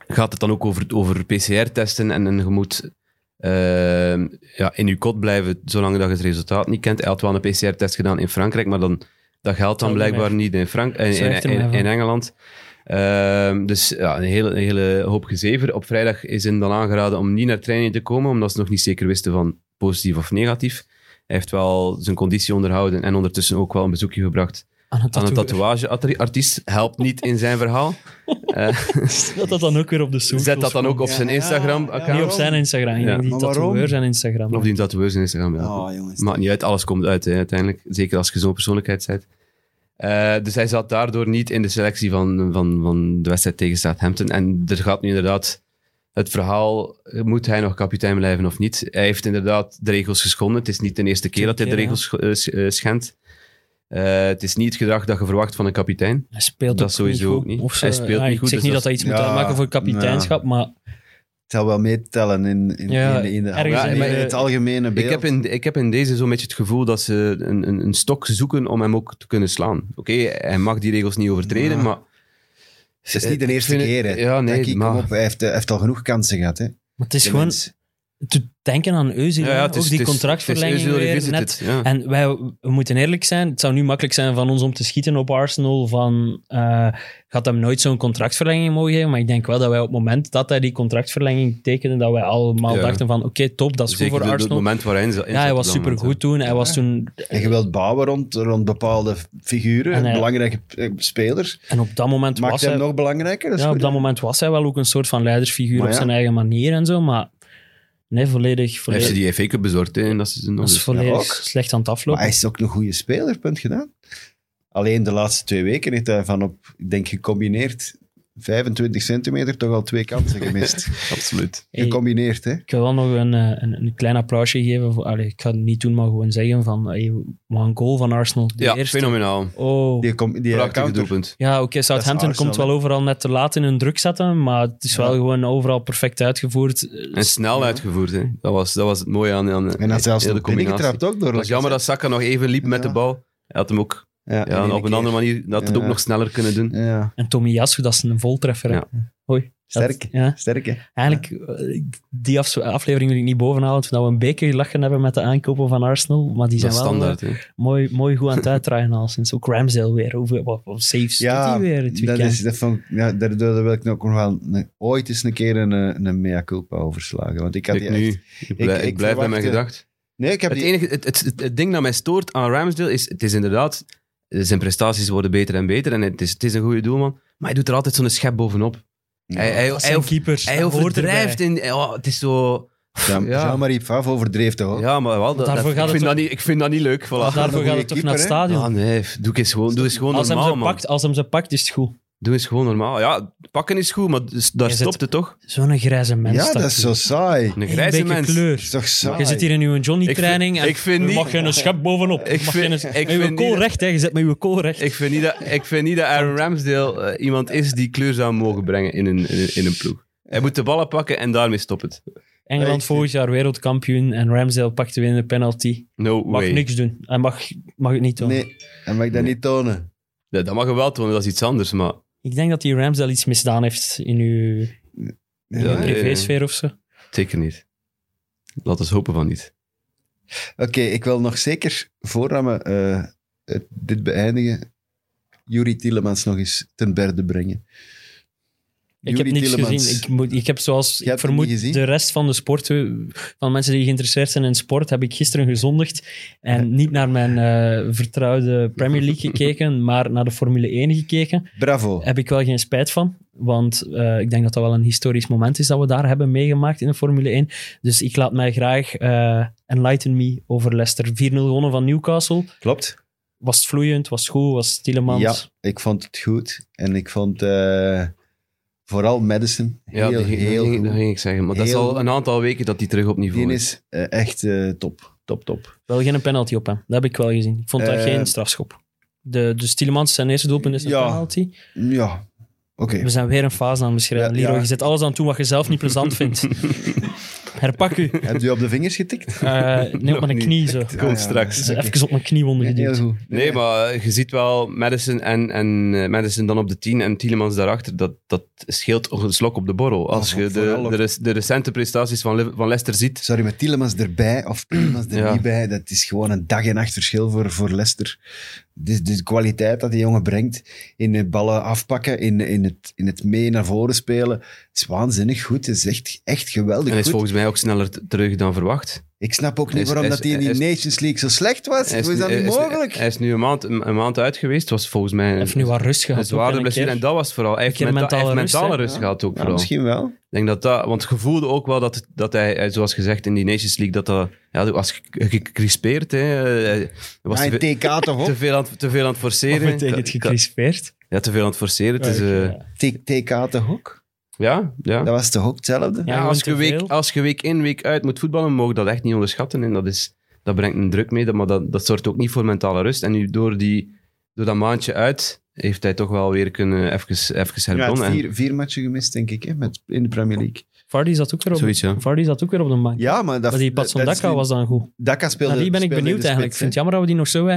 Speaker 3: Gaat het dan ook over, over PCR-testen en en je moet ehm, ja, in je kot blijven zolang dat je het resultaat niet kent. Hij had wel een PCR-test gedaan in Frankrijk, maar dan, dat geldt dan
Speaker 4: Telde mij.
Speaker 3: blijkbaar niet in, Frank eh, in,
Speaker 4: Zwijgt er
Speaker 3: in-
Speaker 4: maar van.
Speaker 3: in Engeland. Ehm, dus ja, een hele, een hele hoop gezever. Op vrijdag is hem dan aangeraden om niet naar training te komen, omdat ze nog niet zeker wisten van positief of negatief. Hij heeft wel zijn conditie onderhouden en ondertussen ook wel een bezoekje gebracht
Speaker 4: aan een
Speaker 3: aan een
Speaker 4: tattoo.
Speaker 3: tatoeageartiest helpt niet in zijn verhaal. Eh,
Speaker 4: Zet dat dan ook weer op de socials.
Speaker 3: zet dat dan ook op
Speaker 2: Ja,
Speaker 3: zijn
Speaker 2: ja,
Speaker 3: Instagram-account.
Speaker 2: ja.
Speaker 4: Niet op zijn Instagram. ik
Speaker 3: Ja.
Speaker 4: denk Die
Speaker 2: Maar waarom?
Speaker 4: tatoeëur zijn Instagram.
Speaker 3: Of die tatoeëurs in Instagram. Ja.
Speaker 2: Oh, jongens.
Speaker 3: Dus Maakt niet uit, alles komt uit hè, uiteindelijk. Zeker als je zo'n persoonlijkheid bent. Eh, dus hij zat daardoor niet in de selectie van, van, van de wedstrijd tegen Southampton. En er gaat nu inderdaad het verhaal, eh, moet hij nog kapitein blijven of niet? Hij heeft inderdaad de regels geschonden. Het is niet de eerste keer dat hij de
Speaker 4: Tweede
Speaker 3: regels eh, sch- eh, schendt. Eh, het is niet het gedrag dat je verwacht van een kapitein.
Speaker 4: Hij speelt
Speaker 3: Dat
Speaker 4: ook
Speaker 3: sowieso
Speaker 4: niet goed.
Speaker 3: ook niet.
Speaker 4: Of ze-
Speaker 3: Hij speelt
Speaker 4: ja,
Speaker 3: niet
Speaker 4: ik
Speaker 3: goed,
Speaker 4: zeg
Speaker 3: dus
Speaker 4: niet
Speaker 3: dat
Speaker 4: dat hij iets moet
Speaker 2: Ja,
Speaker 4: uitmaken voor kapiteinschap, maar
Speaker 2: Het zal wel meetellen in, in,
Speaker 4: Ja,
Speaker 2: in, in, de,
Speaker 4: ergens
Speaker 2: in
Speaker 3: in de-
Speaker 2: het algemene beeld.
Speaker 3: Ik heb, in, ik heb in deze zo'n beetje het gevoel dat ze een, een, een stok zoeken om hem ook te kunnen slaan. Oké, hij mag die regels niet overtreden,
Speaker 2: Ja.
Speaker 3: maar...
Speaker 2: het is niet de eerste
Speaker 3: Ik vind
Speaker 2: keer.
Speaker 3: het-
Speaker 2: Hè.
Speaker 3: Ja, nee,
Speaker 2: Taki, kom
Speaker 3: maar...
Speaker 2: op, hij, heeft, hij heeft al genoeg kansen gehad. Hè.
Speaker 4: Maar het is
Speaker 2: De
Speaker 4: gewoon
Speaker 2: mens.
Speaker 4: te denken aan Özil. hè.
Speaker 3: het is-
Speaker 4: ook die
Speaker 3: het is-
Speaker 4: contractverlenging
Speaker 3: het is Özil
Speaker 4: weer,
Speaker 3: revisited,
Speaker 4: net.
Speaker 3: ja.
Speaker 4: En wij we moeten eerlijk zijn, het zou nu makkelijk zijn van ons om te schieten op Arsenal van eh, gaat hem nooit zo'n contractverlenging mogen geven, maar ik denk wel dat wij op het moment dat hij die contractverlenging tekende, dat wij allemaal
Speaker 3: Ja.
Speaker 4: dachten van oké, top, dat is
Speaker 3: Zeker de-
Speaker 4: goed voor
Speaker 3: de-
Speaker 4: Arsenal.
Speaker 3: het moment waarin hij in zat
Speaker 4: Ja, hij
Speaker 3: op
Speaker 4: was
Speaker 3: dat moment,
Speaker 4: supergoed toen. Hij was toen.
Speaker 2: En je wilt bouwen rond, rond bepaalde figuren,
Speaker 4: En hij-
Speaker 2: belangrijke eh, spelers.
Speaker 4: En op dat moment
Speaker 2: Maakt
Speaker 4: was
Speaker 2: hem
Speaker 4: hij...
Speaker 2: nog belangrijker. Dat is
Speaker 4: Ja, op
Speaker 2: goed,
Speaker 4: dat
Speaker 2: hè.
Speaker 4: moment was hij wel ook een soort van leidersfiguur
Speaker 2: Maar
Speaker 4: op
Speaker 2: ja.
Speaker 4: zijn eigen manier en zo, maar nee, volledig,
Speaker 3: hè. Hij heeft
Speaker 4: volledig,
Speaker 3: ze die FA Cup bezorgd hè, en dat is nog dus
Speaker 4: dat is
Speaker 3: eens.
Speaker 4: volledig
Speaker 2: ook.
Speaker 4: slecht aan het
Speaker 2: Maar
Speaker 4: aflopen.
Speaker 2: hij is ook een goede speler, punt gedaan. Alleen de laatste twee weken heeft hij van op, ik denk gecombineerd, 25 centimeter toch al twee kansen gemist.
Speaker 3: Absoluut.
Speaker 4: Hey,
Speaker 2: Gecombineerd, hè.
Speaker 4: ik wil wel nog een, eh, een, een klein applausje geven. Voor, allee, ik ga het niet doen, maar gewoon zeggen van hey, wat een goal van Arsenal. De
Speaker 3: Ja,
Speaker 4: eerste.
Speaker 3: fenomenaal.
Speaker 4: Oh.
Speaker 2: Die, com- die
Speaker 3: Prachtige
Speaker 2: counter.
Speaker 3: doelpunt.
Speaker 4: Ja, oké, Southampton
Speaker 2: Arsenal,
Speaker 4: komt wel
Speaker 2: hè.
Speaker 4: overal net te laat in hun druk zetten, maar het is wel gewoon overal perfect uitgevoerd.
Speaker 3: En snel uitgevoerd. Hè. Dat, was, dat was het mooie aan, aan
Speaker 2: En dan zelfs nog binnengetrapt ook door
Speaker 3: Het was jammer dat Saka nog even liep met
Speaker 2: Ja.
Speaker 3: de bal. Hij had hem ook
Speaker 2: Ja,
Speaker 3: ja,
Speaker 2: ene
Speaker 3: op een
Speaker 2: keer.
Speaker 3: andere manier dat het ook
Speaker 2: Ja.
Speaker 3: nog sneller kunnen doen.
Speaker 2: Ja,
Speaker 4: En Tommy Jasso, dat is een voltreffer. hè.
Speaker 3: Ja.
Speaker 4: Dat-
Speaker 2: sterk.
Speaker 4: ja.
Speaker 2: Sterk, hè.
Speaker 4: Eigenlijk, eh, die afs- aflevering wil ik niet bovenhalen, toen we een beetje gelachen hebben met de aankopen van Arsenal, maar die
Speaker 3: Dat
Speaker 4: zijn
Speaker 3: is
Speaker 4: wel
Speaker 3: standaard. Hè.
Speaker 4: eh, mooi, mooi goed aan het uitdraaien al sinds. Ook Ramsdale weer, hoeveel wat, wat saves doet hij weer het
Speaker 2: dat
Speaker 4: weekend.
Speaker 2: is, dat vond, ik- ja, daardoor wil ik nog wel een- ooit eens een keer een, eh, een mea culpa overslagen. Want ik had
Speaker 3: Ik,
Speaker 2: die
Speaker 3: nu,
Speaker 2: echt-
Speaker 3: ik, blijf-
Speaker 2: ik eh,
Speaker 3: ik blijf bij mijn
Speaker 2: verwachtte-
Speaker 3: gedacht.
Speaker 2: Nee, ik heb
Speaker 3: Het
Speaker 2: die...
Speaker 3: enige het, het, het, het ding dat mij stoort aan Ramsdale is, het is inderdaad, eh, zijn prestaties worden beter en beter en het is, het is een goede doelman, maar hij doet er altijd zo'n schep bovenop. Hij, hij,
Speaker 4: Dat
Speaker 3: hij,
Speaker 4: zijn
Speaker 3: over-
Speaker 4: keepers.
Speaker 3: hij
Speaker 4: dat hoort
Speaker 3: overdrijft
Speaker 4: erbij.
Speaker 3: in, ja, het is zo...
Speaker 2: Ja,
Speaker 3: Ja.
Speaker 2: Jean-Marie Pfaff overdreef toch ook?
Speaker 3: Ja, maar wel, dat, dat-
Speaker 4: daarvoor gaat
Speaker 3: ik,
Speaker 4: het
Speaker 3: vind
Speaker 4: toch-
Speaker 3: dat niet, ik vind dat niet leuk.
Speaker 4: Maar
Speaker 3: Voilà.
Speaker 4: daarvoor
Speaker 2: een
Speaker 4: gaat
Speaker 2: goede
Speaker 4: het toch naar het
Speaker 2: keeper, hè?
Speaker 4: stadion.
Speaker 3: Ah, nee, f- doe eens gewoon, doe eens gewoon
Speaker 4: als, hem
Speaker 3: normaal,
Speaker 4: ze
Speaker 3: man.
Speaker 4: pakt, als hem ze pakt, is het goed.
Speaker 3: Doe eens gewoon normaal. Ja, pakken is goed, maar dus daar
Speaker 4: Je zit-
Speaker 3: stopt het toch?
Speaker 4: Zo'n grijze mens.
Speaker 2: Ja, dat
Speaker 4: daar.
Speaker 2: is zo saai.
Speaker 3: Een
Speaker 4: Een
Speaker 3: grijze
Speaker 4: beetje
Speaker 3: mens.
Speaker 2: Dat is
Speaker 4: kleur.
Speaker 2: toch saai?
Speaker 4: Je zit hier in uw
Speaker 3: Ik
Speaker 4: Johnny-training
Speaker 3: vind-
Speaker 4: en
Speaker 3: ik vind
Speaker 4: je
Speaker 3: niet-
Speaker 4: mag geen schep bovenop.
Speaker 3: Ik
Speaker 4: mag
Speaker 3: vind-
Speaker 4: geen,
Speaker 3: ik
Speaker 4: met je
Speaker 3: vind
Speaker 4: kool
Speaker 3: niet-
Speaker 4: recht, hè. je zet met je kool recht.
Speaker 3: Ik vind, niet dat, ik vind niet dat Aaron Ramsdale eh, iemand is die kleur zou mogen brengen in een, in een, in een ploeg. Hij moet de ballen pakken en daarmee stopt het.
Speaker 2: Nee,
Speaker 4: Engeland
Speaker 2: ik-
Speaker 4: vorig jaar wereldkampioen en Ramsdale pakte weer een penalty.
Speaker 3: No
Speaker 4: Mag
Speaker 3: way.
Speaker 4: niks doen. Hij mag, mag het niet doen.
Speaker 2: Nee, hij mag dat niet tonen.
Speaker 3: Ja, dat mag je wel tonen, dat is iets anders, maar...
Speaker 4: Ik denk dat die Ramsdale iets misdaan heeft in uw
Speaker 2: Ja.
Speaker 3: Ja, nee.
Speaker 4: privésfeer of zo.
Speaker 3: Zeker niet. Laat ons hopen van niet.
Speaker 2: Oké, ik wil nog zeker, voordat we eh, het- dit beëindigen, Juri Tielemans nog eens ten berde brengen.
Speaker 4: Ik heb niks gezien. Ik, moet, ik heb
Speaker 2: hebt
Speaker 4: zoals ik
Speaker 2: hem niet
Speaker 4: vermoed
Speaker 2: gezien?
Speaker 4: de rest van de sport, eh, van mensen die geïnteresseerd zijn in sport, heb ik gisteren gezondigd en niet naar mijn eh, vertrouwde Premier League gekeken, maar naar de Formule 1 gekeken.
Speaker 2: Bravo.
Speaker 4: heb ik wel geen spijt van. Want eh, ik denk dat dat wel een historisch moment is dat we daar hebben meegemaakt in de Formule 1. Dus ik laat mij graag eh, enlighten me over Leicester. 4-0 gewonnen van Newcastle.
Speaker 2: Klopt.
Speaker 4: Was het vloeiend, was het goed, was het Tielemans.
Speaker 2: Ja, ik vond het goed. En ik vond eh, vooral Madison heel,
Speaker 3: dat ging,
Speaker 2: heel
Speaker 3: dat ging-
Speaker 2: goed.
Speaker 3: dat ging ik zeggen. Maar dat is
Speaker 2: Heel
Speaker 3: al
Speaker 2: goed.
Speaker 3: een aantal weken dat hij terug op niveau
Speaker 2: Die
Speaker 3: is.
Speaker 2: is eh, echt eh, top. Top, top.
Speaker 4: Wel geen penalty op hem, dat heb ik wel gezien. Ik vond dat
Speaker 2: Eh,
Speaker 4: geen strafschop. De, dus Tielemans, zijn eerste doelpunt is een
Speaker 2: Ja.
Speaker 4: penalty.
Speaker 2: Ja, oké.
Speaker 4: We zijn weer een fase aan het beschrijven.
Speaker 2: Ja,
Speaker 4: Leroy,
Speaker 2: ja.
Speaker 4: je zet alles aan toe wat je zelf niet plezant vindt. Herpak u.
Speaker 2: Heb je op de vingers getikt?
Speaker 4: Eh nee, op
Speaker 3: Nog
Speaker 4: mijn
Speaker 3: niet.
Speaker 4: knie zo.
Speaker 3: Komt
Speaker 2: Ah, ja.
Speaker 3: straks.
Speaker 4: Dus Even op mijn kniewonden geduwd.
Speaker 2: Heel goed.
Speaker 3: Nee, maar je ziet wel Madison en, en eh, Madison dan op de 10 en Tielemans daarachter. Dat, dat scheelt een slok op de borrel. Als
Speaker 2: Oh,
Speaker 3: je de,
Speaker 2: vooral ook.
Speaker 3: de, rec- de recente prestaties van, Liv- van Leicester ziet.
Speaker 2: Sorry, met Tielemans erbij of Tielemans er
Speaker 3: Ja.
Speaker 2: niet bij. Dat is gewoon een dag en nacht verschil voor, voor Leicester. de, de kwaliteit dat die jongen brengt in de ballen afpakken, in, in, het, in het mee naar voren spelen, is waanzinnig goed. Het is echt, echt geweldig
Speaker 3: En is
Speaker 2: goed.
Speaker 3: volgens mij ook sneller t- terug dan verwacht.
Speaker 2: Ik snap ook niet
Speaker 3: Hij is-
Speaker 2: waarom
Speaker 3: hij is-
Speaker 2: dat hij in die
Speaker 3: hij is-
Speaker 2: Nations League zo slecht was.
Speaker 3: Hij
Speaker 2: Hoe is dat
Speaker 3: hij
Speaker 2: niet mogelijk?
Speaker 3: Hij is nu een maand, een een maand uit geweest. was volgens mij een,
Speaker 4: Even nu wat rust
Speaker 3: een
Speaker 4: gehad. ook,
Speaker 3: zware
Speaker 4: een
Speaker 3: blessure.
Speaker 4: keer.
Speaker 3: En dat was vooral. Hij heeft
Speaker 4: keer
Speaker 3: menta- hij heeft
Speaker 4: mentale rust,
Speaker 3: mentale
Speaker 4: hè?
Speaker 3: rust, gehad ook
Speaker 2: Ja,
Speaker 3: vooral.
Speaker 2: misschien wel.
Speaker 3: Ik denk dat dat... Want je voelde ook wel dat, dat hij, hij, zoals gezegd, in die Nations League, dat dat... Ja, dat was ge- gecrispeerd, hè. Hij was
Speaker 2: Maar
Speaker 3: te,
Speaker 2: een
Speaker 3: ve-
Speaker 2: TK Ah, toch
Speaker 3: te
Speaker 2: op?
Speaker 3: veel aan, het- te veel aan het
Speaker 4: Of
Speaker 3: forceren.
Speaker 4: meteen het
Speaker 3: Ka- ka-
Speaker 4: gecrispeerd.
Speaker 3: Ja, te veel aan het forceren. Het is, eh,
Speaker 4: Ja.
Speaker 2: T- TK toch ook?
Speaker 3: ja, ja.
Speaker 2: Dat was toch ook hetzelfde?
Speaker 3: Ja,
Speaker 4: Ja. gewoon
Speaker 3: als,
Speaker 4: te
Speaker 3: je week,
Speaker 4: veel.
Speaker 3: als je week in, week uit moet voetballen, mogen dat echt niet onderschatten. En dat, is, dat brengt een druk mee, dat- maar dat, dat zorgt ook niet voor mentale rust. En nu door, die, door dat maandje uit, heeft hij toch wel weer kunnen even,
Speaker 2: Ja,
Speaker 3: even herbonnen.
Speaker 2: vier, vier matchen gemist, denk ik, hè, met, in de Premier League.
Speaker 4: Vardy zat ook weer op,
Speaker 3: Zoiets, ja.
Speaker 4: Vardy zat ook weer op de bank.
Speaker 2: Ja, maar dat,
Speaker 4: maar die
Speaker 2: dat- dat is
Speaker 4: Patsondaka
Speaker 2: nu-
Speaker 4: was dan goed.
Speaker 2: Daka speelde.
Speaker 4: Naar die ben ik
Speaker 2: speelde in
Speaker 4: benieuwd
Speaker 2: de
Speaker 4: eigenlijk.
Speaker 2: spits,
Speaker 4: Ik vind het jammer dat we die nog zo... hè,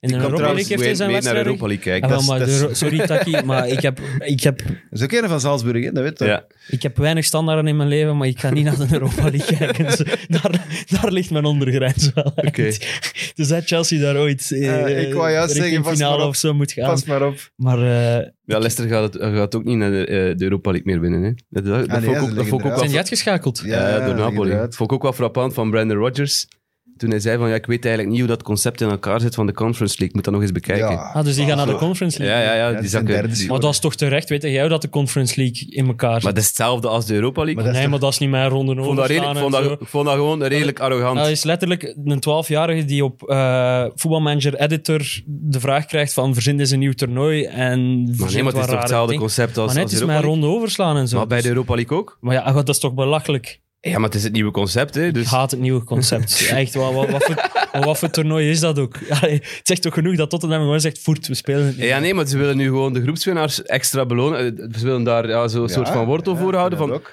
Speaker 4: In de Europa
Speaker 2: trouwens
Speaker 4: League heeft hij zijn wedstrijd... ook-
Speaker 3: League kijken.
Speaker 2: dat
Speaker 4: Ah, wel,
Speaker 2: is-
Speaker 4: maar
Speaker 2: dat is-
Speaker 4: de- Sorry, Taki, maar ik heb, ik, heb,
Speaker 2: hè. Dat is ook een van Salzburg, hè, dat weet je.
Speaker 3: ja.
Speaker 4: ik heb weinig standaarden in mijn leven, maar ik ga niet naar de Europa League kijken. Dus daar, daar ligt mijn ondergrens wel. eigenlijk. Dus dat Chelsea daar ooit eh,
Speaker 2: Eh, ik wou juist
Speaker 4: richting
Speaker 2: zeggen, pas maar
Speaker 4: finale
Speaker 2: op.
Speaker 4: of zo moet gaan.
Speaker 2: Pas maar op.
Speaker 4: Maar eh,
Speaker 3: ja, Leicester gaat, het, gaat ook niet naar de, eh, de Europa League meer winnen. Hè. Dat, dat,
Speaker 2: Ah, nee,
Speaker 3: dat vond ik
Speaker 2: ze
Speaker 3: ook, dat
Speaker 2: liggen
Speaker 3: vond ik ook
Speaker 2: eruit.
Speaker 3: wel...
Speaker 4: zijn die uitgeschakeld?
Speaker 3: Ja, door Napoli.
Speaker 2: inderdaad.
Speaker 3: Vond ik ook wel frappant van Brandon Rodgers. Toen hij zei van, ja, ik weet eigenlijk niet hoe dat concept in elkaar zit van de Conference League. Ik moet dat nog eens bekijken. Ja,
Speaker 4: Ah, dus die gaan naar de Conference League.
Speaker 3: ja, ja.
Speaker 2: Ja,
Speaker 3: die
Speaker 2: die zijn
Speaker 3: zakken-
Speaker 2: derde
Speaker 3: die-
Speaker 4: Maar dat is toch terecht, weet jij, dat de Conference League in elkaar zit?
Speaker 3: Maar dat is hetzelfde als de Europa League.
Speaker 2: Maar dat is
Speaker 4: nee,
Speaker 2: toch-
Speaker 4: maar dat is niet mijn ronde
Speaker 3: Ik vond dat, redelijk-
Speaker 4: overslaan
Speaker 3: vond
Speaker 4: en
Speaker 3: dat,
Speaker 4: zo.
Speaker 3: ik vond dat gewoon redelijk arrogant.
Speaker 4: Dat is letterlijk een 12-jarige die op eh, voetbalmanager editor de vraag krijgt van verzin eens een nieuw toernooi en
Speaker 3: maar nee,
Speaker 4: verzin
Speaker 3: maar het
Speaker 4: wat
Speaker 3: is toch
Speaker 4: rare
Speaker 3: hetzelfde
Speaker 4: dingen.
Speaker 3: concept als,
Speaker 4: Maar net
Speaker 3: als
Speaker 4: is
Speaker 3: Europa
Speaker 4: mijn
Speaker 3: League?
Speaker 4: ronde overslaan en zo.
Speaker 3: Maar bij de
Speaker 4: Dus-
Speaker 3: Europa League ook?
Speaker 4: maar ja, dat is toch belachelijk.
Speaker 3: Ja, maar het is het nieuwe concept, hè. Dus
Speaker 4: Ik haat het nieuwe concept. Echt, wat, wat, wat, voor, maar wat voor toernooi is dat ook? Allee, het zegt toch genoeg dat Tottenham gewoon zegt, voert, we spelen het niet.
Speaker 3: Ja, nee, maar ze willen nu gewoon de groepswinnaars extra belonen. Eh, Ze willen daar ja, zo'n
Speaker 2: Ja,
Speaker 3: soort van wortel
Speaker 2: ja,
Speaker 3: voor houden.
Speaker 2: dat
Speaker 3: Van,
Speaker 2: ook.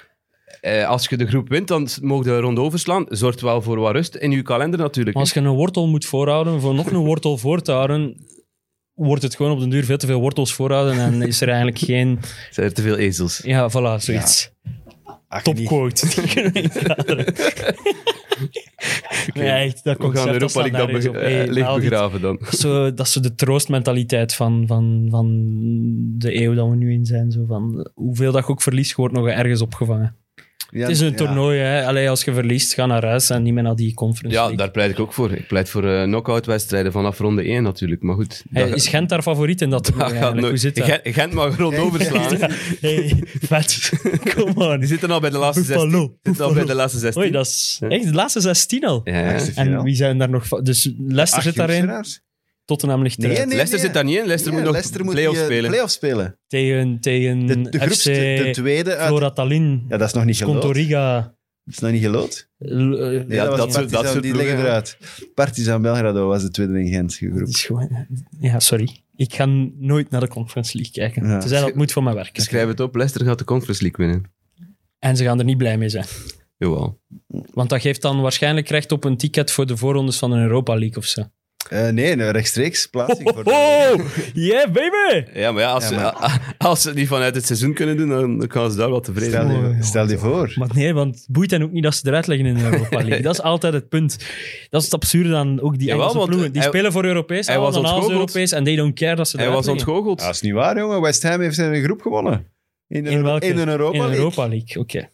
Speaker 3: eh, als je de groep wint, dan mogen de ronde overslaan. Zorgt wel voor wat rust in uw kalender natuurlijk.
Speaker 4: Maar als je een wortel moet voorhouden, voor nog een wortel voor te houden, wordt het gewoon op den duur veel te veel wortels voorhouden en is er eigenlijk geen...
Speaker 3: hè. Zijn er te veel ezels.
Speaker 4: Ja, voilà, zoiets.
Speaker 2: Ach, niet.
Speaker 4: Topquote. Die kunnen we niet kaderen. Nee, echt, dat
Speaker 3: We
Speaker 4: komt
Speaker 3: gaan de Europa League dan bege- eh, licht begraven dan.
Speaker 4: Zo, dat is zo de troostmentaliteit van, van, van de eeuw dat we nu in zijn. Zo van, hoeveel dat je ook verliest, je wordt nog ergens opgevangen.
Speaker 2: Ja,
Speaker 4: het is een
Speaker 2: ja.
Speaker 4: toernooi, hè. Allee, als je verliest, ga naar huis en niet meer naar die conference
Speaker 3: Ja,
Speaker 4: League.
Speaker 3: daar pleit ik ook voor. Ik pleit voor eh knock-out-wedstrijden vanaf ronde 1 natuurlijk. Maar goed,
Speaker 4: Hey,
Speaker 3: dat-
Speaker 4: is Gent daar favoriet in dat toernooi
Speaker 3: dat gaat
Speaker 4: eigenlijk? Hoe
Speaker 3: nooit.
Speaker 4: zit dat?
Speaker 3: Gent, Gent mag rond overslaan. hè.
Speaker 4: Hey, vet. Kom on.
Speaker 3: Die zitten al bij de laatste zestien.
Speaker 4: Buffalo.
Speaker 3: Zitten al bij de laatste zestien.
Speaker 4: Oei, dat is echt de laatste 16 al.
Speaker 3: Ja, ja.
Speaker 2: Laatste
Speaker 4: En
Speaker 2: finale.
Speaker 4: wie zijn daar nog... va- Dus Leicester
Speaker 2: Acht
Speaker 4: zit daarin,
Speaker 2: groepswinnaars?
Speaker 4: Tottenham ligt
Speaker 2: Nee,
Speaker 4: eruit.
Speaker 2: nee,
Speaker 3: Leicester
Speaker 2: nee.
Speaker 3: zit daar niet in. Leicester
Speaker 2: Ja,
Speaker 3: moet nog
Speaker 2: Leicester moet
Speaker 3: play-off
Speaker 2: die, eh, de
Speaker 3: spelen.
Speaker 2: play-off spelen.
Speaker 4: Tegen, tegen
Speaker 2: De, de, groeps-
Speaker 4: FC
Speaker 2: de, de tweede uit...
Speaker 4: Mm, Flora Tallinn,
Speaker 2: Ja, dat is nog niet gelood.
Speaker 4: Contoriga.
Speaker 2: Dat is nog niet gelood.
Speaker 4: eh,
Speaker 2: Nee,
Speaker 3: Ja,
Speaker 2: dat,
Speaker 3: dat
Speaker 2: was
Speaker 3: soort- dat
Speaker 2: Partizan,
Speaker 3: soort
Speaker 2: die
Speaker 3: ploegen,
Speaker 2: liggen
Speaker 3: ja.
Speaker 2: eruit. Partizan Belgrado was de tweede in Gent
Speaker 4: dat
Speaker 2: groep.
Speaker 4: is gewoon... Ja, sorry. Ik ga nooit naar de Conference League kijken.
Speaker 2: Ja.
Speaker 4: Tenzij dat moet voor mijn werk.
Speaker 3: Ik
Speaker 4: is.
Speaker 3: schrijf het op. Leicester gaat de Conference League winnen.
Speaker 4: En ze gaan er niet blij mee zijn.
Speaker 3: Jawel.
Speaker 4: Want dat geeft dan waarschijnlijk recht op een ticket voor de voorrondes van een Europa League of zo. Oh!
Speaker 2: Eh, nee, een rechtstreeks plaatsing voor de-
Speaker 4: Yeah, baby!
Speaker 3: Ja, maar ja, als,
Speaker 2: Ja,
Speaker 3: ze-
Speaker 2: maar-
Speaker 3: a- als ze het niet vanuit het seizoen kunnen doen, dan dan gaan ze daar wat tevreden
Speaker 2: Stel
Speaker 3: zijn.
Speaker 2: je, stel je voor.
Speaker 4: Maar nee, want het boeit hen ook niet dat ze eruit liggen in de Europa League. Dat is altijd het punt. Dat is het absurde dan ook die
Speaker 3: Jawel,
Speaker 4: Engelse
Speaker 3: want
Speaker 4: ploegen. Die
Speaker 3: hij-
Speaker 4: spelen voor Europees,
Speaker 3: hij
Speaker 4: hij was
Speaker 3: was ontgoocheld.
Speaker 4: Europees en they don't care dat ze
Speaker 3: Hij
Speaker 4: eruit
Speaker 3: was
Speaker 4: liggen.
Speaker 3: ontgoocheld.
Speaker 2: Ja, dat is niet waar, jongen. West Ham heeft een groep gewonnen. In, de-
Speaker 4: In welke?
Speaker 2: in een Europa
Speaker 4: In
Speaker 2: League.
Speaker 4: Europa League, oké.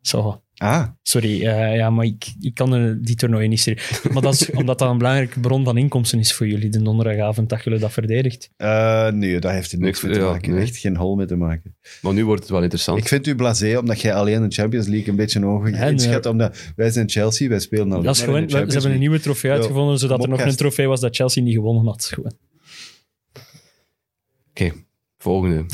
Speaker 4: Zo.
Speaker 2: Ah,
Speaker 4: Sorry, eh, ja, maar ik, ik kan eh, die toernooien niet serieus. Maar dat is omdat dat een belangrijke bron van inkomsten is voor jullie, de donderdagavond, dat jullie dat verdedigt.
Speaker 2: eh, nee, dat heeft er niks
Speaker 3: Niks-
Speaker 2: mee te
Speaker 3: ja,
Speaker 2: maken.
Speaker 3: nee.
Speaker 2: Echt geen hol mee te maken.
Speaker 3: Maar nu wordt het wel interessant.
Speaker 2: Ik vind u blasé, omdat jij alleen de Champions League een beetje hoog
Speaker 4: nee.
Speaker 2: inschat. Omdat wij zijn Chelsea, wij spelen al.
Speaker 4: Dat is gewoon, ze hebben een nieuwe trofee
Speaker 2: Ja,
Speaker 4: uitgevonden, zodat er nog een
Speaker 2: mopcast.
Speaker 4: trofee was dat Chelsea niet gewonnen had. Gewoon.
Speaker 3: Oké, volgende.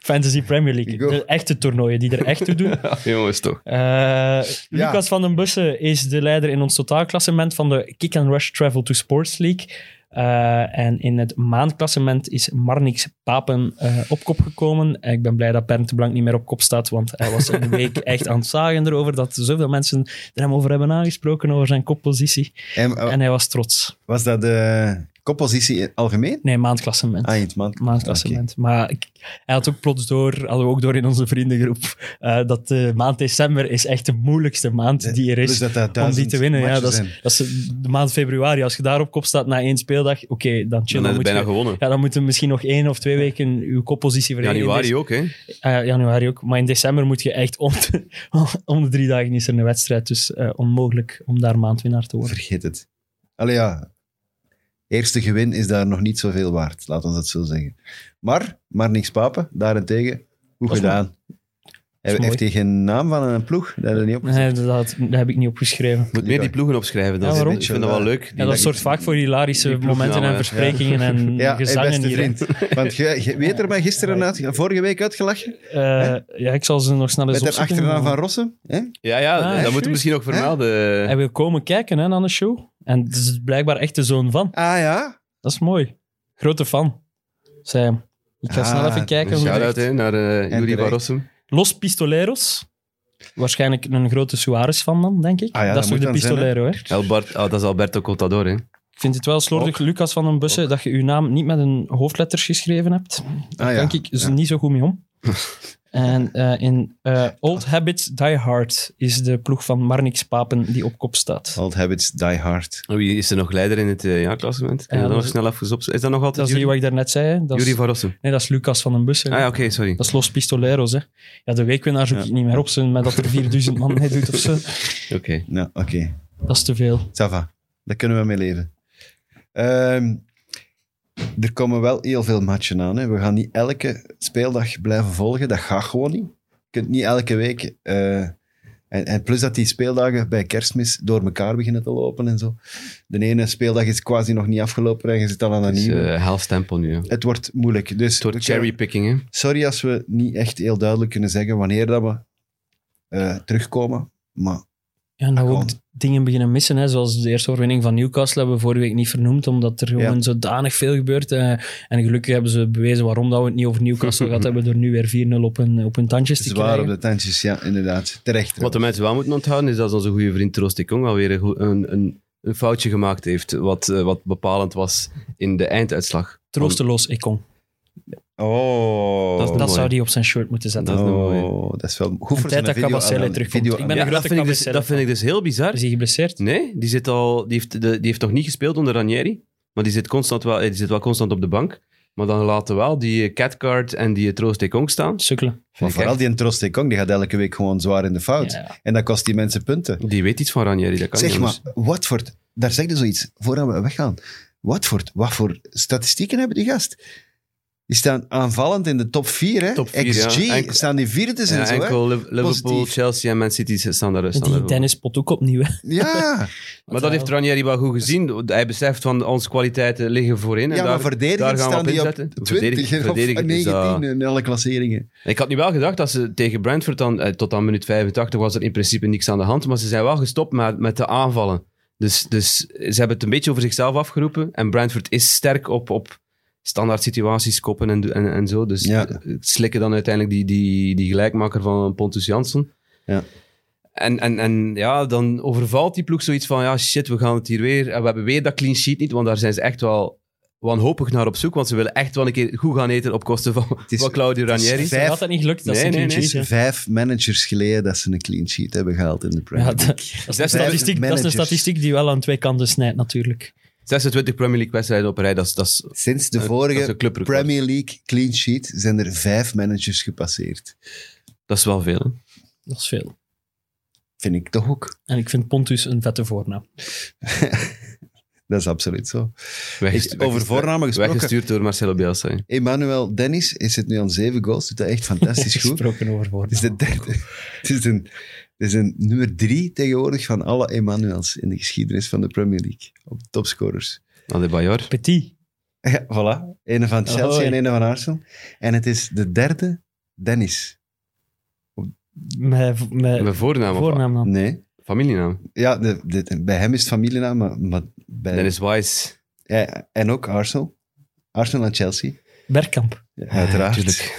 Speaker 4: Fantasy Premier League,
Speaker 2: Ik ook.
Speaker 4: de echte toernooien die er echt toe doen.
Speaker 3: Ja, jongens, toch.
Speaker 4: Eh, Lucas van den Bussen is de leider in ons totaalklassement van de Kick and Rush Travel to Sports League. Eh, en in het maandklassement is Marnix Papen eh, op kop gekomen. En ik ben blij dat Bernd de Blank niet meer op kop staat, want hij was een week echt aan het zagen erover dat zoveel mensen er hem over hebben aangesproken, over zijn koppositie.
Speaker 2: En, eh,
Speaker 4: En hij was trots.
Speaker 2: was dat de Koppositie in- algemeen?
Speaker 4: Nee, maandklassement.
Speaker 2: Ah, in het maand.
Speaker 4: maandklassement. Maar ik, hij had ook plots door, hadden we ook door in onze vriendengroep, eh, dat de maand december is echt de moeilijkste maand die er
Speaker 2: Oké.
Speaker 4: is.
Speaker 2: Dus dat dat
Speaker 4: om die
Speaker 2: duizend
Speaker 4: te winnen. Ja,
Speaker 2: matchen
Speaker 4: dat,
Speaker 2: zijn.
Speaker 4: is, dat is de maand februari. Als je daar op kop staat na één speeldag, oké, dan
Speaker 3: Dan
Speaker 4: chill. Dan
Speaker 3: heb je
Speaker 4: moet
Speaker 3: bijna
Speaker 4: je-
Speaker 3: gewonnen.
Speaker 4: ja, dan moeten misschien nog één of twee weken uw koppositie verdedigen.
Speaker 3: Januari
Speaker 4: In
Speaker 3: ook, hè?
Speaker 4: dec- ah ja, januari ook. Maar in december moet je echt om de, om de drie dagen is er een wedstrijd. Dus eh, onmogelijk om daar maandwinnaar te worden.
Speaker 2: Vergeet het. Allee ja, eerste gewin is daar nog niet zoveel waard, laten we dat zo zeggen. Maar, maar niks papen, daarentegen, goed
Speaker 4: Dat is
Speaker 2: gedaan. Hij-
Speaker 4: mooi.
Speaker 2: Heeft hij geen naam van een ploeg? Dat hij niet op...
Speaker 4: Nee, dat, dat heb ik niet opgeschreven.
Speaker 3: Moet meer die ploegen opschrijven. Dan
Speaker 4: Ja, waarom?
Speaker 3: Ik vind dat wel leuk. Die
Speaker 4: Ja, dat
Speaker 3: lijken-
Speaker 4: soort vaak voor hilarische
Speaker 3: Die ploeg
Speaker 4: momenten
Speaker 3: nou,
Speaker 4: en
Speaker 3: hè.
Speaker 4: versprekingen en
Speaker 2: Ja, hey,
Speaker 4: gezangen
Speaker 2: beste
Speaker 4: hier. hè.
Speaker 2: vriend. Want je, je weet er maar gisteren uit, vorige week uitgelachen.
Speaker 4: Eh, ja, ik zal ze nog snel eens
Speaker 2: Met de
Speaker 4: opzoeken.
Speaker 2: achternaam van Rossum. Hè?
Speaker 3: Ja, ja,
Speaker 4: Ah,
Speaker 3: dat moeten we misschien ook vermelden.
Speaker 4: Hij wil komen kijken hè, aan de show. En het is blijkbaar echt de zoon van.
Speaker 2: Ah ja,
Speaker 4: Dat is mooi. Grote fan, zei hem. Ik ga
Speaker 2: Ah,
Speaker 4: snel even kijken.
Speaker 3: Een
Speaker 4: hoe het
Speaker 3: shout-out
Speaker 4: echt-
Speaker 3: hè, naar eh Yuri
Speaker 2: terecht.
Speaker 3: van Rossum.
Speaker 4: Los Pistoleros. Waarschijnlijk een grote Suarez fan dan, denk ik.
Speaker 2: Ah ja,
Speaker 4: dat is
Speaker 2: dat
Speaker 4: toch de
Speaker 2: moet dan zijn,
Speaker 4: Pistolero, hè?
Speaker 3: Albert, ah, dat is Alberto Contador, hè.
Speaker 4: Ik vind het wel slordig, Lucas van den Bussen, dat je uw naam niet met een hoofdletters geschreven hebt.
Speaker 2: ah, ja.
Speaker 4: denk ik is niet zo goed mee om. en eh, in eh, Old Habits Die Hard is de ploeg van Marnix Papen die op kop staat.
Speaker 2: Old Habits Die Hard.
Speaker 3: Wie is er nog leider in het eh, jaarklassement? Kunnen we
Speaker 4: Ja,
Speaker 3: dat nog
Speaker 4: dat
Speaker 3: snel even opzoeken? Is dat nog
Speaker 4: Dat
Speaker 3: altijd
Speaker 4: is die
Speaker 3: Yuri,
Speaker 4: wat ik daarnet zei. hè. Dat is,
Speaker 3: Yuri van Rossum?
Speaker 4: nee, dat is Lucas van den Bussen.
Speaker 3: Ah ja, oké, sorry.
Speaker 4: Dat is Los Pistoleros, hè. Ja, de weekwinnaar zoek
Speaker 2: Ja.
Speaker 4: ik niet meer op, zo, met dat er 4000 man mee doet of zo.
Speaker 3: Oké.
Speaker 2: Ja, Nou, oké.
Speaker 4: Dat is te veel.
Speaker 2: Sava, daar kunnen we mee leven. Ehm, er komen wel heel veel matchen aan. Hè. We gaan niet elke speeldag blijven volgen. Dat gaat gewoon niet. Je kunt niet elke week. eh, en, en plus dat die speeldagen bij kerstmis door elkaar beginnen te lopen en zo. De ene speeldag is quasi nog niet afgelopen en je zit al aan een
Speaker 3: Het is
Speaker 2: nieuwe.
Speaker 3: eh, half tempo nu. hè.
Speaker 2: het wordt moeilijk. Dus
Speaker 3: Het
Speaker 4: eh,
Speaker 3: wordt
Speaker 2: we kunnen-
Speaker 3: cherrypicking, hè.
Speaker 2: sorry als we niet echt heel duidelijk kunnen zeggen wanneer dat we eh, terugkomen. Maar
Speaker 4: Ja, en dat we ook
Speaker 2: Gewoon.
Speaker 4: dingen beginnen missen, hè. zoals de eerste overwinning van Newcastle hebben we vorige week niet vernoemd, omdat er gewoon zodanig veel gebeurt. eh, en gelukkig hebben ze bewezen waarom dat we het niet over Newcastle gehad hebben, door nu weer 4-0 op hun, op hun tandjes te
Speaker 2: zwaar op
Speaker 4: krijgen.
Speaker 2: de tandjes, ja, inderdaad. Terecht.
Speaker 3: Wat de mensen wel moeten onthouden, is dat onze goede vriend Troost de Kong alweer een, goe- een, een, een foutje gemaakt heeft, wat, eh, wat bepalend was in de einduitslag.
Speaker 4: Troosteloos, ik kom.
Speaker 2: Oh.
Speaker 3: Dat is de
Speaker 4: Dat
Speaker 3: Mooi.
Speaker 4: zou die op zijn shirt moeten zetten.
Speaker 3: Dat is een mooie.
Speaker 2: Oh, dat is wel goed voor zijn
Speaker 4: tijd dat
Speaker 2: video.
Speaker 4: Cabasele
Speaker 2: aan-
Speaker 4: terugkomt.
Speaker 2: video
Speaker 4: Ik
Speaker 2: aan-
Speaker 4: ben
Speaker 3: Ja,
Speaker 4: een
Speaker 3: dat,
Speaker 4: grote
Speaker 3: vind ik dus,
Speaker 4: kabel
Speaker 3: dat vind ik dus heel bizar.
Speaker 4: Is hij
Speaker 2: Mm.
Speaker 4: geblesseerd?
Speaker 3: Nee, die, zit al, die, heeft, de- die heeft nog niet gespeeld onder Ranieri. Maar die zit, constant wel, eh, die zit wel constant op de bank. Maar dan laten wel die Catcard en die eh, Troost Ekong staan.
Speaker 4: Sukkelen.
Speaker 2: Maar
Speaker 3: Vind ik
Speaker 2: vooral
Speaker 3: echt-
Speaker 2: die Trost Kong, die gaat elke week gewoon zwaar in de fout.
Speaker 4: Ja.
Speaker 2: En dat kost die mensen punten.
Speaker 3: die weet iets van Ranieri, dat kan
Speaker 2: zeg
Speaker 3: niet
Speaker 2: maar,
Speaker 3: anders.
Speaker 2: Watford, daar zeg je zoiets, voordat we weggaan. Watford, wat voor statistieken hebben die gast? Die staan aanvallend in de top 4, hè?
Speaker 3: Top vier,
Speaker 2: XG,
Speaker 3: ja. Enkel-
Speaker 2: staan die vierde dus en
Speaker 3: Ja,
Speaker 2: zo, hè?
Speaker 3: enkel Liv- Liverpool,
Speaker 2: Positief.
Speaker 3: Chelsea en Man City staan daar staan
Speaker 4: Die
Speaker 3: daar wel.
Speaker 4: Dennis pot ook opnieuw. hè.
Speaker 2: Ja,
Speaker 3: Maar dat heeft Ranieri wel goed gezien. Hij beseft van onze kwaliteiten liggen voorin.
Speaker 2: ja
Speaker 3: En
Speaker 2: maar
Speaker 3: daar, daar
Speaker 2: verdedigend
Speaker 3: gaan we
Speaker 2: staan
Speaker 3: op
Speaker 2: die op
Speaker 3: inzetten.
Speaker 2: 20 en
Speaker 3: Verdedigend-
Speaker 2: op
Speaker 3: verdedigend is dat-
Speaker 2: 19 in alle klasseringen.
Speaker 3: Ik had nu wel gedacht dat ze tegen Brentford dan, eh, tot aan minuut 85 was er in principe niks aan de hand. Maar ze zijn wel gestopt met, met de aanvallen. Dus, dus ze hebben het een beetje over zichzelf afgeroepen. En Brentford is sterk op, op standaard situaties, koppen en, en, en zo. Dus
Speaker 2: Ja.
Speaker 3: eh, slikken dan uiteindelijk die, die, die gelijkmaker van Pontus Jansen.
Speaker 2: Ja.
Speaker 3: En, en, en ja, dan overvalt die ploeg zoiets van, ja shit, we gaan het hier weer... En we hebben weer dat clean sheet niet, want daar zijn ze echt wel wanhopig naar op zoek. Want ze willen echt wel een keer goed gaan eten op kosten van,
Speaker 2: is-
Speaker 3: van Claudio
Speaker 2: het is
Speaker 3: Ranieri.
Speaker 4: Dat
Speaker 2: vijf-
Speaker 4: had dat niet gelukt. Dat
Speaker 3: Nee,
Speaker 4: is een
Speaker 3: nee,
Speaker 4: clean
Speaker 3: nee.
Speaker 4: sheet, hè.
Speaker 2: Vijf managers geleden dat ze een clean sheet hebben gehaald in de Premier
Speaker 4: Ja,
Speaker 2: League.
Speaker 4: dat, dat is een
Speaker 3: Zes
Speaker 4: statistiek, dat is een
Speaker 2: managers.
Speaker 4: statistiek die wel aan twee kanten snijdt, natuurlijk.
Speaker 3: 26 Premier League wedstrijden op een rij, dat is, dat is
Speaker 2: Sinds de
Speaker 3: Eh, dat is
Speaker 2: vorige
Speaker 3: een clubrecord.
Speaker 2: Premier League clean sheet zijn er vijf managers gepasseerd.
Speaker 3: Dat is wel veel. Hè?
Speaker 4: Dat is veel.
Speaker 2: Vind ik toch ook.
Speaker 4: En ik vind Pontus een vette voornaam.
Speaker 2: Dat is absoluut zo. Is
Speaker 3: Weggestu-
Speaker 2: het over voornamen gesproken.
Speaker 3: Weggestuurd door Marcelo Bielsa. hè.
Speaker 2: Emmanuel Dennis is het nu aan zeven goals. Doet dat echt fantastisch goed. Het
Speaker 4: Gesproken over voornaam.
Speaker 2: is de derde. Het is een, het is een nummer drie tegenwoordig van alle Emmanuels in de geschiedenis van de Premier League. Op de topscorers.
Speaker 3: Adebayor.
Speaker 4: Petit.
Speaker 2: Ja, voilà. Ene van Chelsea
Speaker 4: Ahoy.
Speaker 2: en ene van Arsenal. En het is de derde Dennis.
Speaker 4: Met, met,
Speaker 3: Mijn voornaam of
Speaker 4: Eh, voornaam dan.
Speaker 2: Nee.
Speaker 3: familienaam.
Speaker 2: Ja, de, de- bij hem is het familienaam, maar, maar bij,
Speaker 3: Dennis Wise.
Speaker 2: Ja, en ook Arsenal. Arsenal en Chelsea.
Speaker 4: Bergkamp.
Speaker 2: uiteraard.
Speaker 3: Tuurlijk.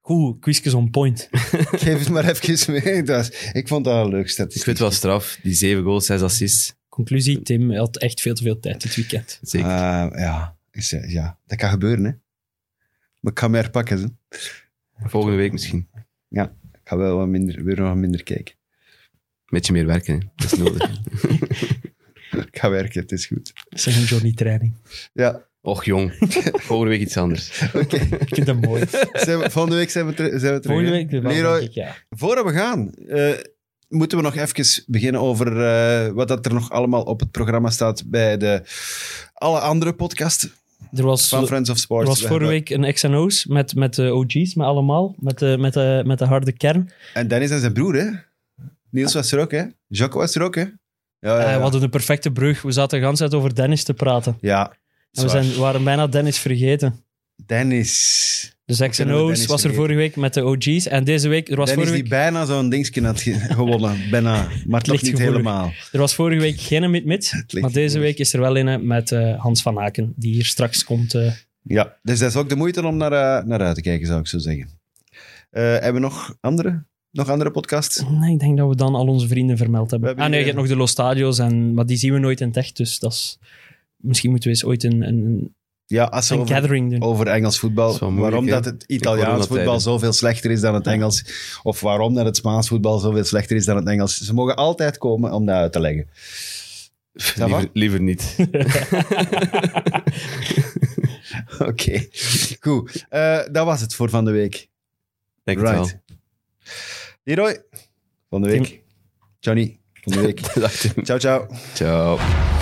Speaker 4: Goed, quizjes on point.
Speaker 2: Geef het maar even mee. Dat is- ik vond dat een leuk statistiek.
Speaker 3: Ik vind het wel straf. Die zeven goals, zes assists.
Speaker 4: Conclusie, Tim had echt veel te veel tijd dit weekend.
Speaker 3: Zeker.
Speaker 2: Eh, ja. Is, eh, ja, dat kan gebeuren, hè. Maar ik ga me herpakken, hè. Ah.
Speaker 3: Volgende week misschien.
Speaker 2: Ik ga wel wat minder, weer wat minder kijken.
Speaker 3: Beetje meer werken, hè. dat is nodig.
Speaker 2: Ik ga werken, het is goed.
Speaker 4: Dat is een Johnny-training.
Speaker 2: Ja,
Speaker 3: Och jong, volgende week iets anders.
Speaker 2: oké.
Speaker 4: Ik vind dat mooi.
Speaker 2: Zijn we- Volgende week zijn we, ter- zijn we terug.
Speaker 4: Volgende
Speaker 2: hè?
Speaker 4: week, wel,
Speaker 2: Leroy,
Speaker 4: denk ik, ja.
Speaker 2: Voordat we gaan, eh, moeten we nog even beginnen over eh, wat dat er nog allemaal op het programma staat bij de, alle andere podcasts
Speaker 4: Er was,
Speaker 2: van
Speaker 4: er
Speaker 2: Friends of Sports.
Speaker 4: was
Speaker 2: We
Speaker 4: vorige
Speaker 2: hebben-
Speaker 4: week een X&O's met, met de OG's, met allemaal, met de, met de, met de harde kern.
Speaker 2: En Dennis en zijn broer, hè? Niels was er ook, hè? Jacques was er ook, hè? Ja, ja,
Speaker 4: Eh,
Speaker 2: ja.
Speaker 4: we hadden een perfecte brug. We zaten de hele tijd over Dennis te praten.
Speaker 2: Ja,
Speaker 4: En we
Speaker 2: zwaar.
Speaker 4: zijn, waren bijna Dennis vergeten.
Speaker 2: Dennis.
Speaker 4: Dus
Speaker 2: kunnen we Dennis
Speaker 4: X&O's was er
Speaker 2: vergeten?
Speaker 4: vorige week met de OG's. En deze week, er was,
Speaker 2: Dennis
Speaker 4: vorige
Speaker 2: die
Speaker 4: week,
Speaker 2: bijna zo'n dingetje had ge- gewonnen. Bijna, maar toch
Speaker 4: ligt
Speaker 2: niet
Speaker 4: gevoelig.
Speaker 2: helemaal.
Speaker 4: er was vorige week geen mid-mid.
Speaker 2: ligt
Speaker 4: Maar deze
Speaker 2: gevoelig.
Speaker 4: week is er wel een met eh, Hans van Aken, die hier straks komt. eh,
Speaker 2: Ja, dus dat is ook de moeite om naar, eh, naar uit te kijken, zou ik zo zeggen. Eh, hebben we nog andere, nog andere podcasts?
Speaker 4: Nee, ik denk dat we dan al onze vrienden vermeld hebben.
Speaker 2: We hebben
Speaker 4: ah nee, je
Speaker 2: hier-
Speaker 4: hebt nog de Los Stadios, en, maar die zien we nooit in het echt. Dus dat is, misschien moeten we eens ooit een, een,
Speaker 2: Ja, als ze
Speaker 4: een
Speaker 2: over-
Speaker 4: gathering doen.
Speaker 2: over Engels voetbal.
Speaker 3: Dat is wel moeilijk,
Speaker 2: waarom
Speaker 3: hè?
Speaker 2: dat het
Speaker 3: Ik hoor
Speaker 2: Italiaans
Speaker 3: dat
Speaker 2: voetbal
Speaker 3: tijden.
Speaker 2: zoveel slechter is dan het Engels. Of waarom dat het Spaans voetbal zoveel slechter is dan het Engels. Ze mogen altijd komen om dat uit te leggen. va?
Speaker 3: Liever, liever niet.
Speaker 2: Oké, goed. Eh, dat was het voor van de week.
Speaker 3: Denk het
Speaker 2: Right. Leroy, van de week. Johnny, van de week.
Speaker 3: wel. Dag Tim.
Speaker 2: Ciao, ciao.
Speaker 3: Ciao.